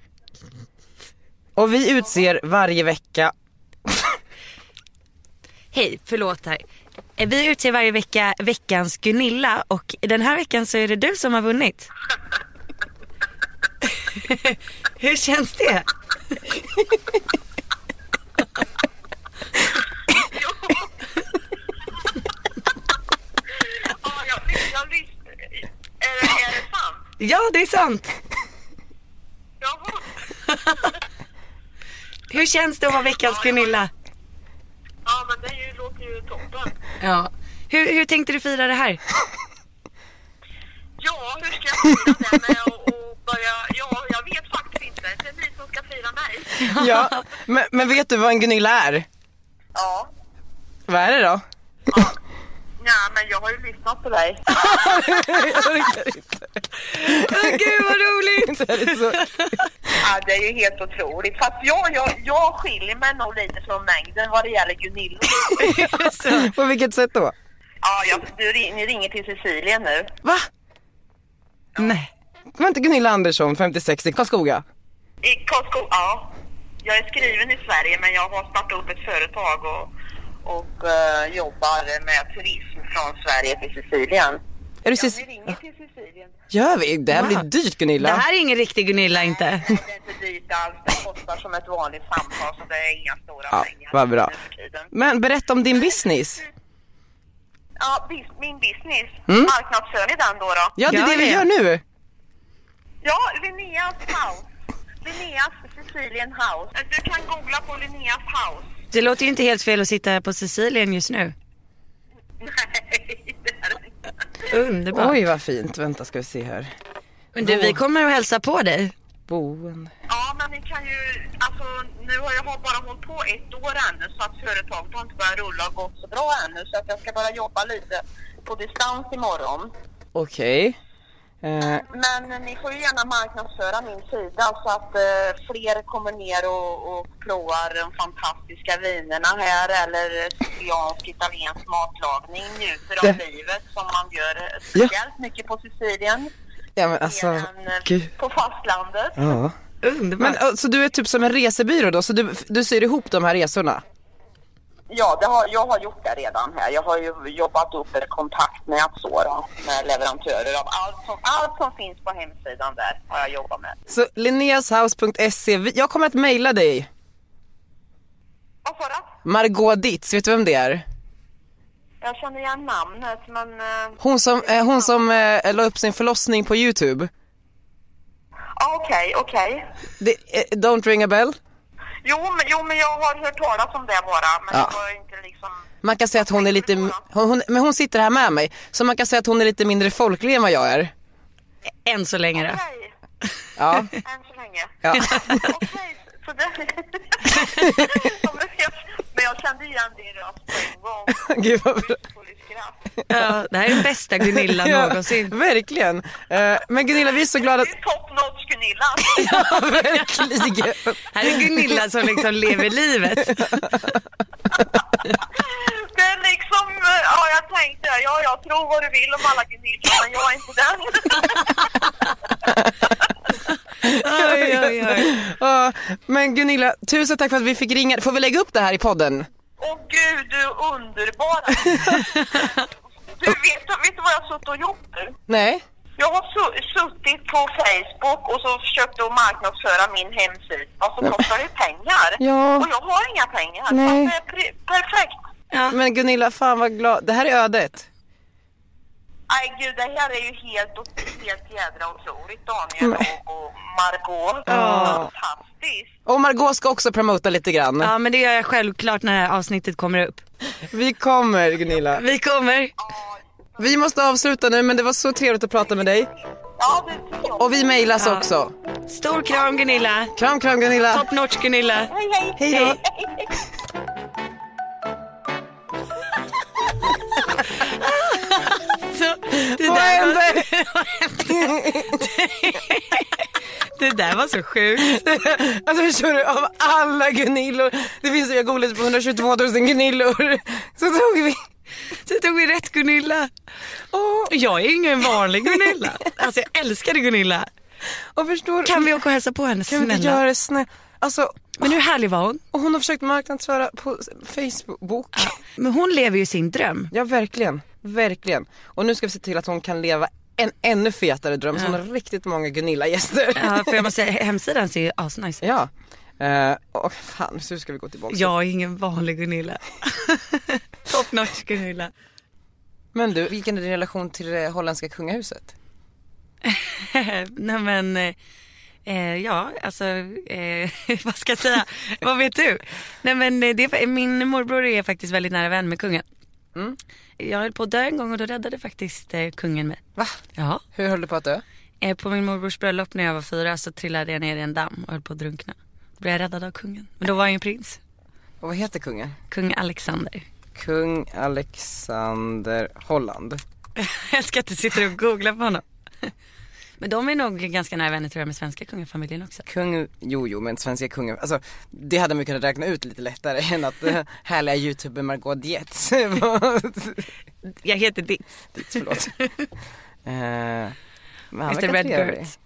[SPEAKER 1] Och vi utser varje vecka
[SPEAKER 2] Hej, förlåt här. Eh, Vi utser varje vecka veckans Gunilla och den här veckan så är det du som har vunnit. Hur känns det?
[SPEAKER 11] Ja, jag, jag lyssnar. Är det
[SPEAKER 2] Ja, det är sant. Hur känns det att vara veckans Gunilla?
[SPEAKER 11] Ja, men det är ju- låter ju toppen.
[SPEAKER 2] Ja. Hur, hur tänkte du fira det här?
[SPEAKER 11] Ja, hur ska jag fira det med att och börja... Ja, jag vet faktiskt inte. Det är ni som ska fira mig.
[SPEAKER 1] Ja, men, men vet du vad en Gunilla är?
[SPEAKER 11] Ja.
[SPEAKER 1] Vad är det då?
[SPEAKER 11] Nej, men jag har ju lyssnat på dig.
[SPEAKER 1] jag orkar inte.
[SPEAKER 2] Gud vad roligt!
[SPEAKER 1] Det är så...
[SPEAKER 11] Ja, det är ju helt otroligt. Fast jag, jag, jag skiljer mig nog lite från mängden vad det gäller Gunilla.
[SPEAKER 1] På vilket sätt då?
[SPEAKER 11] Ja, jag, du, ring- ni ringer till Cecilia nu.
[SPEAKER 1] Va? Nej. Det var inte Gunilla Andersson, 56, i Karlskoga?
[SPEAKER 11] I Costco, ja. Jag är skriven i Sverige men jag har startat upp ett företag och, och eh, jobbar med turism från Sverige till Sicilien.
[SPEAKER 1] Är du Cec-
[SPEAKER 11] Ja, vi ringer till Sicilien.
[SPEAKER 1] Gör vi? Det här
[SPEAKER 2] Wow.
[SPEAKER 1] blir dyrt Gunilla.
[SPEAKER 2] Det här är ingen riktig Gunilla inte.
[SPEAKER 11] Det är inte dyrt alls, det kostar som ett vanligt samtal så det är inga stora
[SPEAKER 1] Ja,
[SPEAKER 11] pengar.
[SPEAKER 1] vad bra.
[SPEAKER 11] nu för tiden.
[SPEAKER 1] Men berätta om din business.
[SPEAKER 11] Ja, bis- min business.
[SPEAKER 1] Mm.
[SPEAKER 11] Marknadsför ni den då? då?
[SPEAKER 1] Ja, det är det vi gör nu.
[SPEAKER 11] Ja, Linneas House. Linneas Sicilien House. Du kan googla på Linneas House.
[SPEAKER 2] Det låter ju inte helt fel att sitta här på Sicilien just nu.
[SPEAKER 11] Nej, det är det inte.
[SPEAKER 2] Underbart.
[SPEAKER 1] Oj vad fint. Vänta ska vi se här.
[SPEAKER 2] Men du, vi kommer att hälsa på dig.
[SPEAKER 1] Boende.
[SPEAKER 11] Ja, men ni kan ju... Alltså, nu har jag har bara hållit på ett år ännu så att företaget har inte börjat rulla och gått så bra ännu så att jag ska bara jobba lite på distans imorgon.
[SPEAKER 1] Okej. Eh,
[SPEAKER 11] Men eh, ni får ju gärna marknadsföra min sida så att eh, fler kommer ner och, och provar de fantastiska vinerna här eller eh, siciliansk italiensk matlagning, njuter av
[SPEAKER 1] Det-
[SPEAKER 11] livet som man gör eh, speciellt mycket på Sicilien.
[SPEAKER 1] ja men alltså,
[SPEAKER 11] Men, eh,
[SPEAKER 1] gud.
[SPEAKER 11] På fastlandet.
[SPEAKER 1] Ja. Men eh, så du är typ som en resebyrå då, så du, du syr ihop de här resorna?
[SPEAKER 11] Ja, det har, jag har gjort det redan här. Jag har ju jobbat upp ett kontaktnät så då, med leverantörer av allt som, allt som finns på hemsidan där har jag jobbat med.
[SPEAKER 1] Så linneashouse.se, vi- jag kommer att mejla dig.
[SPEAKER 11] Vad sa du?
[SPEAKER 1] Margot Ditz, vet du vem det är?
[SPEAKER 11] Jag känner igen namnet men... eh,
[SPEAKER 1] Hon som, eh, hon som eh, la upp sin förlossning på YouTube.
[SPEAKER 11] ja, Okej, okej.
[SPEAKER 1] Det, eh, don't ring a bell.
[SPEAKER 11] Jo, men, jo, men jag har hört talas om det bara. Men
[SPEAKER 1] Ja.
[SPEAKER 11] jag har inte liksom...
[SPEAKER 1] Man kan säga att hon är lite, hon, hon, men hon sitter här med mig, så man kan säga att hon är lite mindre folklig än vad jag är.
[SPEAKER 2] Än så länge då.
[SPEAKER 11] Okej,
[SPEAKER 1] Ja.
[SPEAKER 11] än så länge.
[SPEAKER 1] Ja.
[SPEAKER 11] Okej, så det... men jag kände igen din röst på en gång.
[SPEAKER 1] Gud vad bra.
[SPEAKER 2] Ja, det här är den bästa Gunilla någonsin.
[SPEAKER 1] Ja, verkligen. Eh, men Gunilla, vi är så glada att...
[SPEAKER 11] Det är top notch Gunilla.
[SPEAKER 1] Ja, verkligen.
[SPEAKER 2] Här är Gunilla som liksom lever livet.
[SPEAKER 11] Det är liksom... Ja, jag tänkte... Ja, jag tror vad du vill om alla Gunilla, men jag är inte den.
[SPEAKER 2] Oj, oj, oj.
[SPEAKER 1] Ja, men Gunilla, tusen tack för att vi fick ringa. Får vi lägga upp det här i podden?
[SPEAKER 11] Åh gud, du är underbar. Du, vet, du- vet du vad jag har suttit och gjort nu?
[SPEAKER 1] Nej?
[SPEAKER 11] Jag har su- suttit på Facebook och så försökt att marknadsföra min hemsida. Och så kostar det pengar.
[SPEAKER 1] Ja.
[SPEAKER 11] Och jag har inga pengar. Så
[SPEAKER 1] Nej.
[SPEAKER 11] att det är pre- perfekt.
[SPEAKER 1] Men Gunilla, fan vad glad. Det här är ödet.
[SPEAKER 11] Nej gud, det här är ju helt, helt jädra otroligt Daniel och, och Margot. Fantastiskt.
[SPEAKER 1] Och Margot ska också promota lite grann.
[SPEAKER 2] Ja, men det gör jag självklart när det här avsnittet kommer upp.
[SPEAKER 1] Vi kommer Gunilla.
[SPEAKER 2] Vi kommer.
[SPEAKER 1] Vi måste avsluta nu men det var så trevligt att prata med dig.
[SPEAKER 11] Ja, det tycker jag.
[SPEAKER 1] Och vi mejlas också.
[SPEAKER 2] Stor kram Gunilla.
[SPEAKER 1] Kram kram Gunilla.
[SPEAKER 2] Top notch Gunilla.
[SPEAKER 11] Hej, hej.
[SPEAKER 1] Hej då.
[SPEAKER 2] Så, det,
[SPEAKER 1] Vad
[SPEAKER 2] där var,
[SPEAKER 1] hände?
[SPEAKER 2] det där var så sjukt.
[SPEAKER 1] Alltså förstår du, av alla Gunillor, det finns jag googlade på 122 000 Gunillor, så tog vi...
[SPEAKER 2] Så tog vi rätt Gunilla. Och jag är ingen vanlig Gunilla. Alltså jag älskade Gunilla.
[SPEAKER 1] Och förstår
[SPEAKER 2] Kan vi åka och hälsa på henne
[SPEAKER 1] kan vi inte
[SPEAKER 2] snälla?
[SPEAKER 1] göra det snällt? Alltså,
[SPEAKER 2] Men hur härlig var hon?
[SPEAKER 1] och hon har försökt marknadsföra på Facebook.
[SPEAKER 2] Men hon lever ju sin dröm.
[SPEAKER 1] Ja verkligen, verkligen. Och nu ska vi se till att hon kan leva en ännu fetare dröm, så hon har riktigt många Gunilla-gäster.
[SPEAKER 2] Ja, för jag måste säga, hemsidan ser ju asnice ut.
[SPEAKER 1] Ja. Eh, och fan, så ska vi gå tillbaka.
[SPEAKER 2] Jag är ingen vanlig Gunilla. Top notch Gunilla.
[SPEAKER 1] Men du, vilken är din relation till det holländska kungahuset?
[SPEAKER 2] Nej men, eh, eh, ja alltså, eh, vad ska jag säga? vad vet du? Nej men eh, det, är fa- min morbror är faktiskt väldigt nära vän med kungen. Jag höll på att dö en gång och då räddade faktiskt eh, kungen mig. Va? Ja.
[SPEAKER 1] Hur höll du på att dö?
[SPEAKER 2] Eh, på min morbrors bröllop när jag var fyra så trillade jag ner i en damm och höll på att drunkna. Då blev jag räddad av kungen. Men då var han ju prins.
[SPEAKER 1] Och vad heter kungen?
[SPEAKER 2] Kung Alexander.
[SPEAKER 1] Kung Alexander Holland.
[SPEAKER 2] jag ska inte sitta och googla på honom. Men de är nog ganska nära vänner tror jag med svenska kungafamiljen också.
[SPEAKER 1] Kung, jo jo men svenska kungen, alltså det hade man ju kunnat räkna ut lite lättare än att eh, härliga youtuber Margot Dietz.
[SPEAKER 2] Jag heter Ditt.
[SPEAKER 1] Ditt, förlåt. Eh, men han
[SPEAKER 2] Mr.
[SPEAKER 1] verkar
[SPEAKER 2] Red
[SPEAKER 1] trevlig.
[SPEAKER 2] Girls.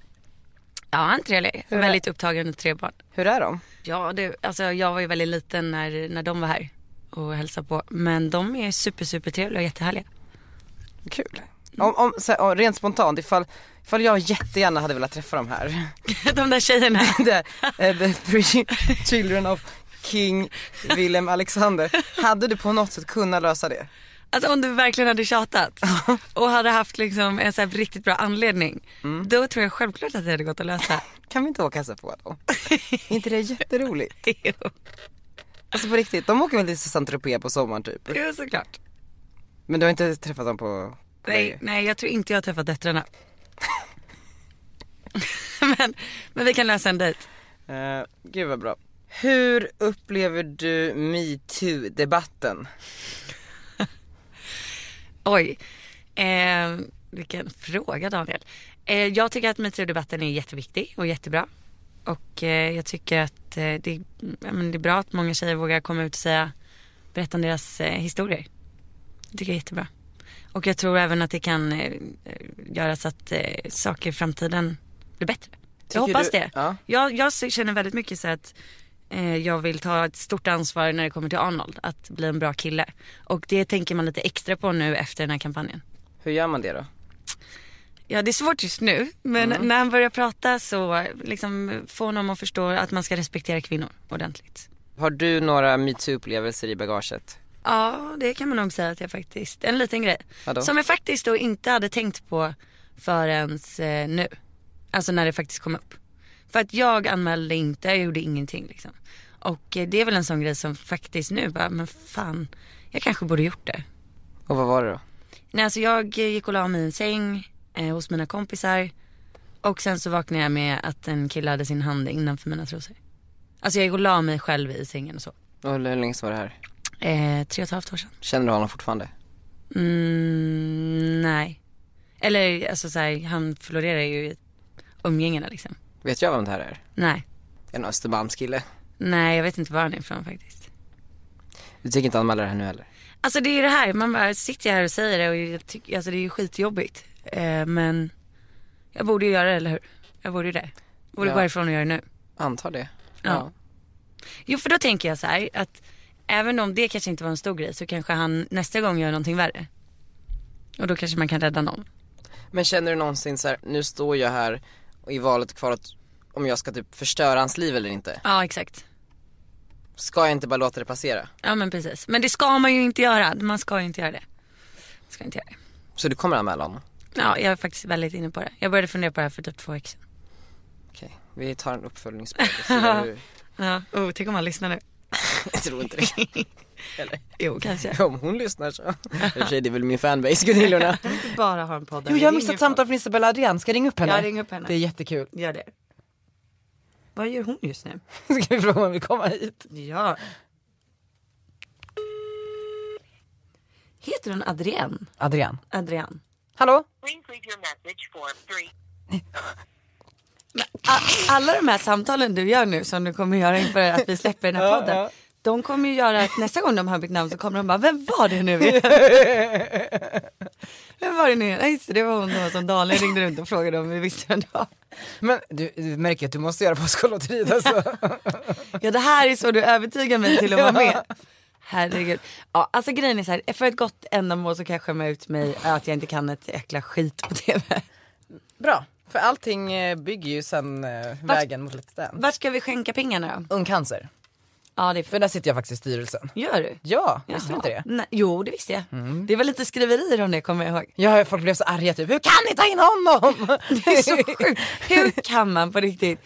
[SPEAKER 2] Ja, han är trevlig.
[SPEAKER 1] Hur är-
[SPEAKER 2] väldigt upptagen med tre barn.
[SPEAKER 1] Hur är de?
[SPEAKER 2] Ja, det, alltså jag var ju väldigt liten när, när de var här och hälsade på. Men de är super, super trevliga och jättehärliga.
[SPEAKER 1] Kul. Om, om, så här, om, rent spontant, ifall, ifall jag jättegärna hade velat träffa de här.
[SPEAKER 2] de där tjejerna.
[SPEAKER 1] där, eh, the three children of King Willem Alexander. Hade du på något sätt kunnat lösa det?
[SPEAKER 2] Alltså om du verkligen hade tjatat och hade haft liksom en så här riktigt bra anledning. Då tror jag självklart att det hade gått att lösa.
[SPEAKER 1] Kan vi inte åka och hälsa på dem? är inte det jätteroligt? Alltså på riktigt, de åker väl till Saint-Tropez på sommaren typ?
[SPEAKER 2] Jo, såklart.
[SPEAKER 1] Men du har inte träffat dem på...
[SPEAKER 2] Nej, nej, jag tror inte jag har träffat döttrarna. men, men vi kan lösa en dejt.
[SPEAKER 1] Uh, gud vad bra. Hur upplever du metoo-debatten?
[SPEAKER 2] Oj, eh, vilken fråga Daniel. Eh, jag tycker att metoo-debatten är jätteviktig och jättebra. Och eh, jag tycker att eh, det, är- ja, men det är bra att många tjejer vågar komma ut och säga, berätta om deras eh, historier. Det tycker jag är jättebra. Och jag tror även att det kan eh, göra så att eh, saker i framtiden blir bättre.
[SPEAKER 1] Tycker
[SPEAKER 2] jag hoppas
[SPEAKER 1] du-
[SPEAKER 2] det.
[SPEAKER 1] ja.
[SPEAKER 2] Jag, jag känner väldigt mycket så att eh, jag vill ta ett stort ansvar när det kommer till Arnold, att bli en bra kille. Och det tänker man lite extra på nu efter den här kampanjen.
[SPEAKER 1] Hur gör man det då?
[SPEAKER 2] Ja det är svårt just nu men
[SPEAKER 1] Mm.
[SPEAKER 2] när han börjar prata så liksom få honom att förstå att man ska respektera kvinnor ordentligt.
[SPEAKER 1] Har du några metoo-upplevelser i bagaget?
[SPEAKER 2] Ja det kan man nog säga att jag faktiskt, en liten grej.
[SPEAKER 1] Vadå?
[SPEAKER 2] Som jag faktiskt då inte hade tänkt på förrän eh, nu. Alltså när det faktiskt kom upp. För att jag anmälde inte, jag gjorde ingenting liksom. Och eh, det är väl en sån grej som faktiskt nu bara, men fan, jag kanske borde gjort det.
[SPEAKER 1] Och vad var det då?
[SPEAKER 2] Nej, alltså jag eh, gick och la mig i en säng eh, hos mina kompisar. Och sen så vaknade jag med att en kille hade sin hand innanför mina trosor. Alltså jag gick och la mig själv i sängen och så.
[SPEAKER 1] Och hur länge sedan var det här?
[SPEAKER 2] Eh, tre och ett halvt år sedan.
[SPEAKER 1] Känner du honom fortfarande?
[SPEAKER 2] Mm, nej. Eller alltså så här, han florerar ju i umgängena liksom.
[SPEAKER 1] Vet jag vem det här är?
[SPEAKER 2] Nej.
[SPEAKER 1] En Östermalmskille.
[SPEAKER 2] Nej, jag vet inte var han är ifrån faktiskt.
[SPEAKER 1] Du tänker inte anmäla det här nu heller?
[SPEAKER 2] Alltså det är ju det här, man bara sitter här och säger det och jag tycker, alltså det är ju skitjobbigt. Eh, men jag borde ju göra det, eller hur? Jag borde ju det. Jag borde
[SPEAKER 1] Ja.
[SPEAKER 2] gå härifrån och göra det nu.
[SPEAKER 1] Antar det.
[SPEAKER 2] Ja. Jo för då tänker jag så här att även om det kanske inte var en stor grej så kanske han nästa gång gör någonting värre. Och då kanske man kan rädda någon.
[SPEAKER 1] Men känner du någonsin så här, nu står jag här och i valet kvar att om jag ska typ förstöra hans liv eller inte?
[SPEAKER 2] Ja exakt.
[SPEAKER 1] Ska jag inte bara låta det passera?
[SPEAKER 2] Ja men precis. Men det ska man ju inte göra. Man ska ju inte göra det. Man ska inte göra det.
[SPEAKER 1] Så du kommer anmäla honom?
[SPEAKER 2] Ja jag är faktiskt väldigt inne på det. Jag började fundera på det här för typ två veckor sedan.
[SPEAKER 1] Okej, vi tar en uppföljningspodd och ser hur...
[SPEAKER 2] Ja, oh, tänk om han lyssnar nu.
[SPEAKER 1] Jag tror inte det. Eller?
[SPEAKER 2] Jo kanske.
[SPEAKER 1] Om hon lyssnar så. I och för sig det är väl min fanbase Gunillorna.
[SPEAKER 2] Jag vill inte bara ha en podd där
[SPEAKER 1] Jo
[SPEAKER 2] vi
[SPEAKER 1] jag har
[SPEAKER 2] ringer
[SPEAKER 1] missat samtal från Isabella Adrian, ska jag ringa upp henne?
[SPEAKER 2] Ja, ring upp henne.
[SPEAKER 1] Det är jättekul.
[SPEAKER 2] Gör det. Vad gör hon just nu?
[SPEAKER 1] Ska vi fråga om vi komma hit?
[SPEAKER 2] Ja. Heter hon Adrienne?
[SPEAKER 1] Adrian.
[SPEAKER 2] Adrian.
[SPEAKER 1] Hallå?
[SPEAKER 11] Please leave your message for three.
[SPEAKER 4] Alla de här samtalen du gör nu som du kommer göra inför att vi släpper den här podden. De kommer ju göra att nästa gång de hör mitt namn så kommer de bara, vem var det nu igen? Vem var det nu igen? Nej, just det, det var hon då som Daniel ringde runt och frågade om vi visste vem det var.
[SPEAKER 1] Men du, du märker att du måste göra Påskolotteriet alltså.
[SPEAKER 4] Ja det här är så du övertygar mig till att vara med. Herregud. Ja, alltså grejen är så här, för ett gott ändamål så kan jag skämma ut mig att jag inte kan ett jäkla skit på tv.
[SPEAKER 1] Bra, för allting eh, bygger ju sen eh, vägen mot Let's Dance.
[SPEAKER 4] Vart ska vi skänka pengarna då?
[SPEAKER 1] Ung cancer.
[SPEAKER 2] Ja, det är för...
[SPEAKER 1] för där sitter jag faktiskt i styrelsen.
[SPEAKER 2] Gör du?
[SPEAKER 1] Ja, visste du inte det? Mm.
[SPEAKER 2] Nej, jo det visste jag. Det var lite skriverier om det kommer jag ihåg.
[SPEAKER 1] Ja, folk blev så arga typ, hur kan ni ta in honom?
[SPEAKER 2] Det är så sjukt. Hur kan man på riktigt?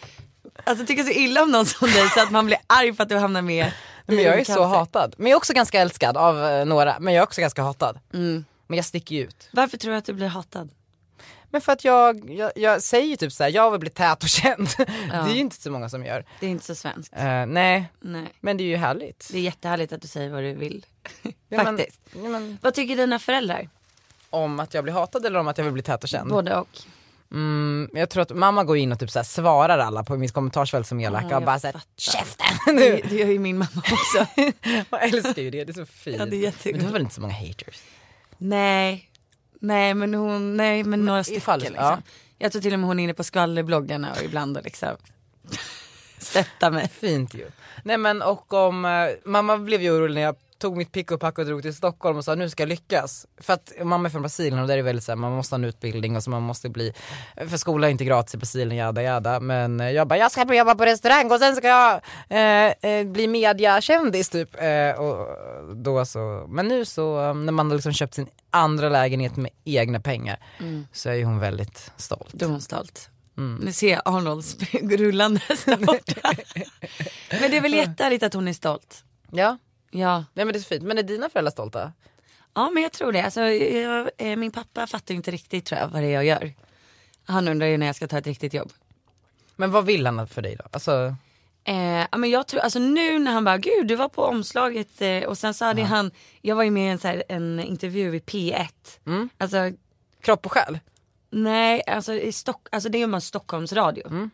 [SPEAKER 2] Alltså tycker så illa om någon som dig så att man blir arg för att du hamnar med i
[SPEAKER 1] Men jag är
[SPEAKER 2] en
[SPEAKER 1] så
[SPEAKER 2] cancer.
[SPEAKER 1] hatad. Men jag är också ganska älskad av eh, några, men jag är också ganska hatad. Men jag sticker ju ut.
[SPEAKER 2] Varför tror du att du blir hatad?
[SPEAKER 1] Men för att jag, jag, jag säger ju typ såhär, jag vill bli tät och känd. Det är ju inte så många som gör.
[SPEAKER 2] Det är inte så svenskt.
[SPEAKER 1] Eh, nej,
[SPEAKER 2] Nej.
[SPEAKER 1] men det är ju härligt.
[SPEAKER 2] Det är jättehärligt att du säger vad du vill.
[SPEAKER 1] Ja, men-
[SPEAKER 2] Faktiskt.
[SPEAKER 1] ja, men,
[SPEAKER 2] Vad tycker dina föräldrar?
[SPEAKER 1] om att jag blir hatad eller om att jag vill bli tät och känd?
[SPEAKER 2] Både och.
[SPEAKER 1] Mm, jag tror att mamma går in och typ så här svarar alla på mitt kommentarsfält som elaka
[SPEAKER 2] jag
[SPEAKER 1] och bara såhär
[SPEAKER 2] fattar.
[SPEAKER 1] käften
[SPEAKER 2] Det,
[SPEAKER 1] nu.
[SPEAKER 2] det gör ju min mamma också.
[SPEAKER 1] Jag älskar ju det, det är så fint.
[SPEAKER 2] Ja, det är jättegulligt.
[SPEAKER 1] men du har väl inte så många haters?
[SPEAKER 2] nej. Nej men hon, nej men några stycken
[SPEAKER 1] ifall-
[SPEAKER 2] liksom.
[SPEAKER 1] ja.
[SPEAKER 2] Jag tror till och med hon är inne på skvallerbloggarna och ibland och liksom stöttar mig.
[SPEAKER 1] Fint ju. Nej men och om, eh, mamma blev ju orolig när jag tog mitt pick och pack och drog till Stockholm och sa nu ska jag lyckas. För att mamma är från Brasilien och där är det väldigt såhär, man måste ha en utbildning och så man måste bli, eh, för skola är inte gratis i Brasilien, jada jada. Men eh, jag bara, jag ska börja jobba på restaurang och sen ska jag eh, eh, bli mediakändis typ. Eh, och då så, men nu så eh, när man har liksom köpt sin andra lägenhet med egna pengar så är ju hon väldigt stolt.
[SPEAKER 2] Då är hon stolt. Nu ser jag Arnolds rullandes där borta. Men det är väl jättehärligt att hon är stolt.
[SPEAKER 1] Ja,
[SPEAKER 2] Ja,
[SPEAKER 1] nej men det är så fint. Men är dina föräldrar stolta?
[SPEAKER 2] ja men jag tror det. Alltså, jag, eh, min pappa fattar ju inte riktigt tror jag vad det är jag gör. Han undrar ju när jag ska ta ett riktigt jobb.
[SPEAKER 1] Men vad vill han för dig då? Alltså,
[SPEAKER 2] Eh, ja, men jag tror, alltså nu när han bara, gud du var på omslaget eh, och sen så hade han, jag var ju med i en, så här, en intervju i P1. Alltså
[SPEAKER 1] kropp och själ?
[SPEAKER 2] nej, alltså, i Stock, alltså det gör man Stockholmsradio.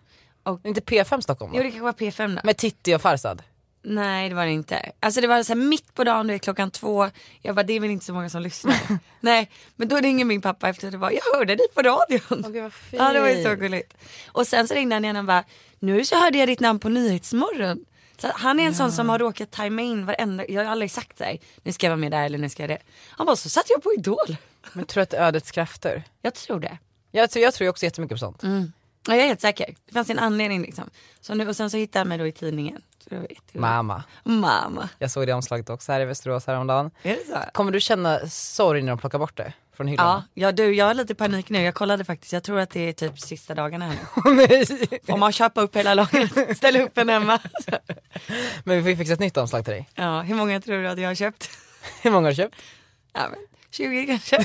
[SPEAKER 1] Inte P5 Stockholm va?
[SPEAKER 2] Jo det kanske var P5 då.
[SPEAKER 1] Med Titti och Farzad?
[SPEAKER 2] Nej det var det inte. Alltså det var så här mitt på dagen, du vet klockan två. Jag bara det är väl inte så många som lyssnar. Nej men då ringer min pappa efter det var jag hörde dig på radion. ja det var ju så gulligt. Och sen så ringde han igen och bara nu så hörde jag ditt namn på Nyhetsmorgon. Så att han är en sån som har råkat tajma in varenda, jag har aldrig sagt såhär nu ska jag vara med där eller nu ska jag det. Han bara så satt jag på Idol.
[SPEAKER 1] Men tror du att det är ödets krafter?
[SPEAKER 2] Jag tror det.
[SPEAKER 1] Jag tror, jag tror ju också jättemycket på sånt.
[SPEAKER 2] Mm. Ja, jag är helt säker. Det fanns en anledning liksom. Så nu, och sen så hittade han mig då i tidningen. Så det var jättegulligt.
[SPEAKER 1] Mamma,
[SPEAKER 2] Mamma.
[SPEAKER 1] jag såg det omslaget också här i Västerås häromdagen.
[SPEAKER 2] Är det så?
[SPEAKER 1] Kommer du känna sorg när de plockar bort det från
[SPEAKER 2] Ja,
[SPEAKER 1] hyllan?
[SPEAKER 2] ja du jag har lite panik nu. Jag kollade faktiskt. Jag tror att det är typ sista dagarna här nu.
[SPEAKER 1] Ja. Nej.
[SPEAKER 2] Får man köpa upp hela lagret? Ställa upp en hemma.
[SPEAKER 1] Men vi får ju fixa ett nytt omslag till dig.
[SPEAKER 2] Ja, hur många tror du att jag har köpt?
[SPEAKER 1] Hur många har du köpt?
[SPEAKER 2] Ja, men 20 kanske.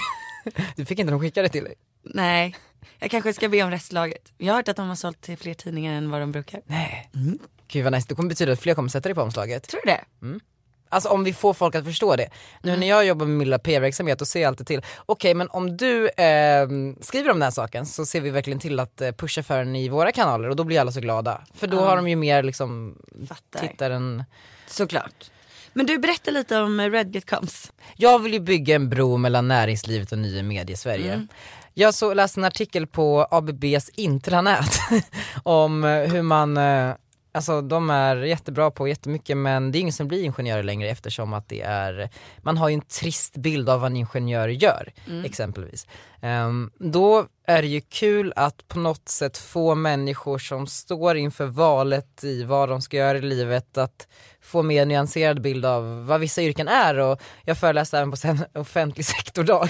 [SPEAKER 1] Du fick inte de skickade till dig?
[SPEAKER 2] Nej, jag kanske ska be om restlagret. Jag har hört att de har sålt till fler tidningar än vad de brukar.
[SPEAKER 1] Nej.
[SPEAKER 2] Mm.
[SPEAKER 1] Gud vad nice, det kommer betyda att fler kommer sätta dig på omslaget.
[SPEAKER 2] Tror du det?
[SPEAKER 1] Alltså om vi får folk att förstå det. Nu när jag jobbar med min lilla PR-verksamhet och ser jag alltid till, okej men om du ehm, skriver om den här saken så ser vi verkligen till att eh, pusha för den i våra kanaler och då blir alla så glada. För då har de ju mer liksom
[SPEAKER 2] Fattar.
[SPEAKER 1] tittaren.
[SPEAKER 2] Såklart. Men du berättar lite om eh, Redget Comes.
[SPEAKER 1] Jag vill ju bygga en bro mellan näringslivet och nya medier i Sverige. Jag så, läste en artikel på ABBs intranät om eh, hur man, eh, alltså de är jättebra på jättemycket men det är ingen som blir ingenjörer längre eftersom att det är, man har ju en trist bild av vad en ingenjör gör exempelvis. Ehm, då är det ju kul att på något sätt få människor som står inför valet i vad de ska göra i livet att få mer nyanserad bild av vad vissa yrken är och jag föreläste även på sen- offentlig sektordag.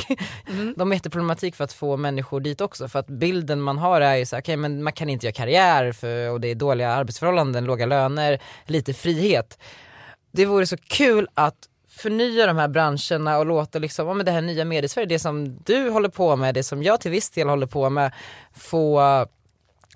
[SPEAKER 1] De har jätteproblematik för att få människor dit också för att bilden man har är ju så här, okej men man kan inte göra karriär för, och det är dåliga arbetsförhållanden, låga löner, lite frihet det vore så kul att förnya de här branscherna och låta liksom, ja, men det här nya mediesverige, det som du håller på med, det som jag till viss del håller på med, få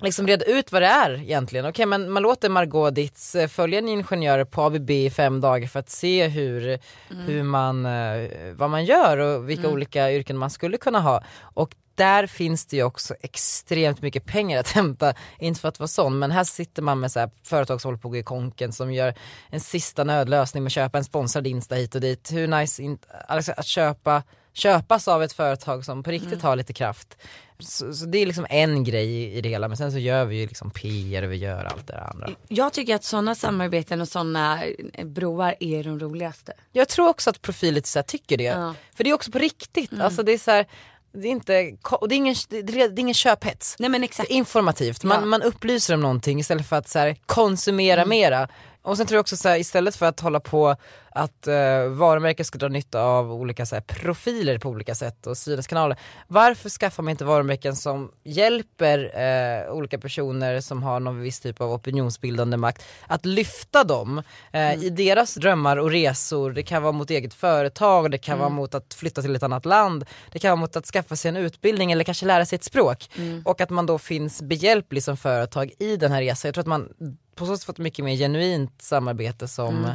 [SPEAKER 1] liksom reda ut vad det är egentligen. Okej men man låter Margot Ditz eh, följa en ingenjör på ABB i fem dagar för att se hur, hur man, eh, vad man gör och vilka olika yrken man skulle kunna ha. Och där finns det ju också extremt mycket pengar att hämta, inte för att vara sån men här sitter man med så här företag som håller på att gå i konken som gör en sista nödlösning med att köpa en sponsrad Insta hit och dit. Hur nice in, alltså att köpa, köpas av ett företag som på riktigt har lite kraft. Så, så det är liksom en grej i- i det hela men sen så gör vi ju liksom PR och vi gör allt det där andra.
[SPEAKER 2] Jag tycker att sådana samarbeten och sådana broar är de roligaste.
[SPEAKER 1] Jag tror också att Profil lite så här tycker det.
[SPEAKER 2] Ja.
[SPEAKER 1] För det är också på riktigt. Alltså det är så här, det är inte, ko- och det är ingen, det är, det är ingen köphets.
[SPEAKER 2] Nej men exakt.
[SPEAKER 1] Det är informativt, man,
[SPEAKER 2] Ja. Mm.
[SPEAKER 1] man upplyser om någonting istället för att så här, konsumera mera. Och sen tror jag också så här, istället för att hålla på att eh, varumärken ska dra nytta av olika så här, profiler på olika sätt och sidoskanaler. Varför skaffar man inte varumärken som hjälper eh, olika personer som har någon viss typ av opinionsbildande makt att lyfta dem eh,
[SPEAKER 2] Mm.
[SPEAKER 1] i deras drömmar och resor. Det kan vara mot eget företag, det kan vara
[SPEAKER 2] Mm.
[SPEAKER 1] mot att flytta till ett annat land, det kan vara mot att skaffa sig en utbildning eller kanske lära sig ett språk.
[SPEAKER 2] Mm.
[SPEAKER 1] Och att man då finns behjälplig som företag i den här resan. Jag tror att man på så sätt fått mycket mer genuint samarbete som
[SPEAKER 12] Mm.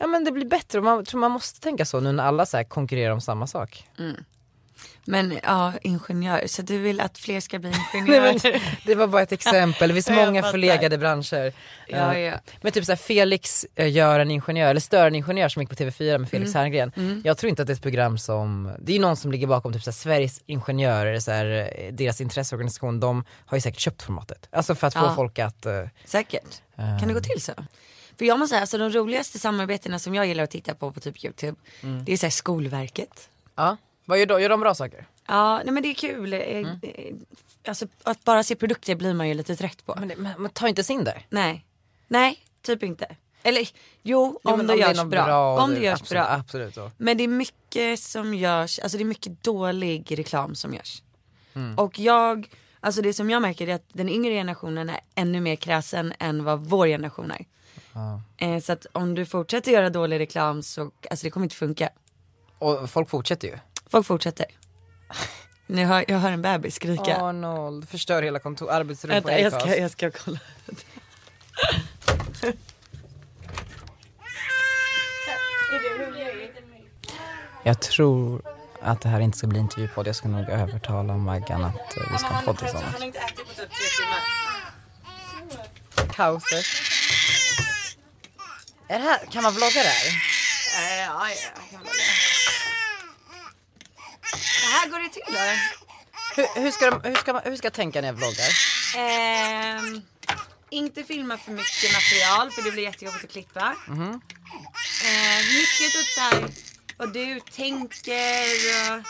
[SPEAKER 1] Ja men det blir bättre och man tror man måste tänka så nu när alla så här konkurrerar om samma sak.
[SPEAKER 2] Mm. Men ja, ingenjör. Så du vill att fler ska bli
[SPEAKER 1] Nej,
[SPEAKER 2] ingenjörer?
[SPEAKER 1] men, det var bara ett exempel, det finns
[SPEAKER 2] Ja, jag
[SPEAKER 1] många
[SPEAKER 2] fattar.
[SPEAKER 1] förlegade branscher.
[SPEAKER 2] Ja,
[SPEAKER 1] Eh,
[SPEAKER 2] ja.
[SPEAKER 1] Men typ såhär Felix eh, gör en ingenjör, eller stör en ingenjör som gick på TV4 med Felix
[SPEAKER 2] Mm.
[SPEAKER 1] Herngren.
[SPEAKER 2] Mm.
[SPEAKER 1] Jag tror inte att det är ett program som, det är ju någon som ligger bakom typ såhär Sveriges ingenjörer, såhär, eh, deras intresseorganisation, de har ju säkert köpt formatet. Alltså för att få
[SPEAKER 2] Ja.
[SPEAKER 1] folk att... eh,
[SPEAKER 2] Säkert.
[SPEAKER 1] eh,
[SPEAKER 2] Kan det gå till så? För jag måste säga, alltså de roligaste samarbetena som jag gillar att titta på på typ YouTube,
[SPEAKER 1] Mm.
[SPEAKER 2] det är såhär Skolverket.
[SPEAKER 1] Ja, vad gör de? Gör de bra saker?
[SPEAKER 2] Ja, nej men det är kul. Eh,
[SPEAKER 1] Mm.
[SPEAKER 2] eh, Alltså att bara se produkter blir man ju lite trött på.
[SPEAKER 1] Men, men, men ta inte Cinder.
[SPEAKER 2] Nej, nej, typ inte. Eller jo,
[SPEAKER 1] Jo,
[SPEAKER 2] om
[SPEAKER 1] men
[SPEAKER 2] det görs
[SPEAKER 1] någon
[SPEAKER 2] bra.
[SPEAKER 1] och
[SPEAKER 2] Om det görs
[SPEAKER 1] absolut,
[SPEAKER 2] bra.
[SPEAKER 1] Absolut. så.
[SPEAKER 2] Men det är mycket som görs, alltså det är mycket dålig reklam som görs.
[SPEAKER 1] Mm.
[SPEAKER 2] Och jag, alltså det som jag märker är att den yngre generationen är ännu mer kräsen än vad vår generation är.
[SPEAKER 1] Ja.
[SPEAKER 2] Eh, så att om du fortsätter göra dålig reklam så, alltså det kommer inte funka.
[SPEAKER 1] Och folk fortsätter ju.
[SPEAKER 2] Folk fortsätter. Nu hör, jag hör en bebis skrika.
[SPEAKER 1] Arnold förstör hela kontor, arbetsrummet på
[SPEAKER 2] Vänta, jag
[SPEAKER 1] Acast.
[SPEAKER 2] ska, jag ska kolla.
[SPEAKER 13] Jag tror att det här inte ska bli intervjupodd. Jag ska nog övertala Maggan att eh, vi ska ha en podd tillsammans.
[SPEAKER 1] Kaoset. Är det här, kan man vlogga det här?
[SPEAKER 2] Ja, Så här går det till då.
[SPEAKER 1] Hur, hur, ska de, hur, ska man, hur ska jag tänka när jag vloggar?
[SPEAKER 2] Ehm, inte filma för mycket material för det blir jättejobbigt att klippa.
[SPEAKER 1] Mhm.
[SPEAKER 2] Eh, mycket typ såhär vad du tänker och...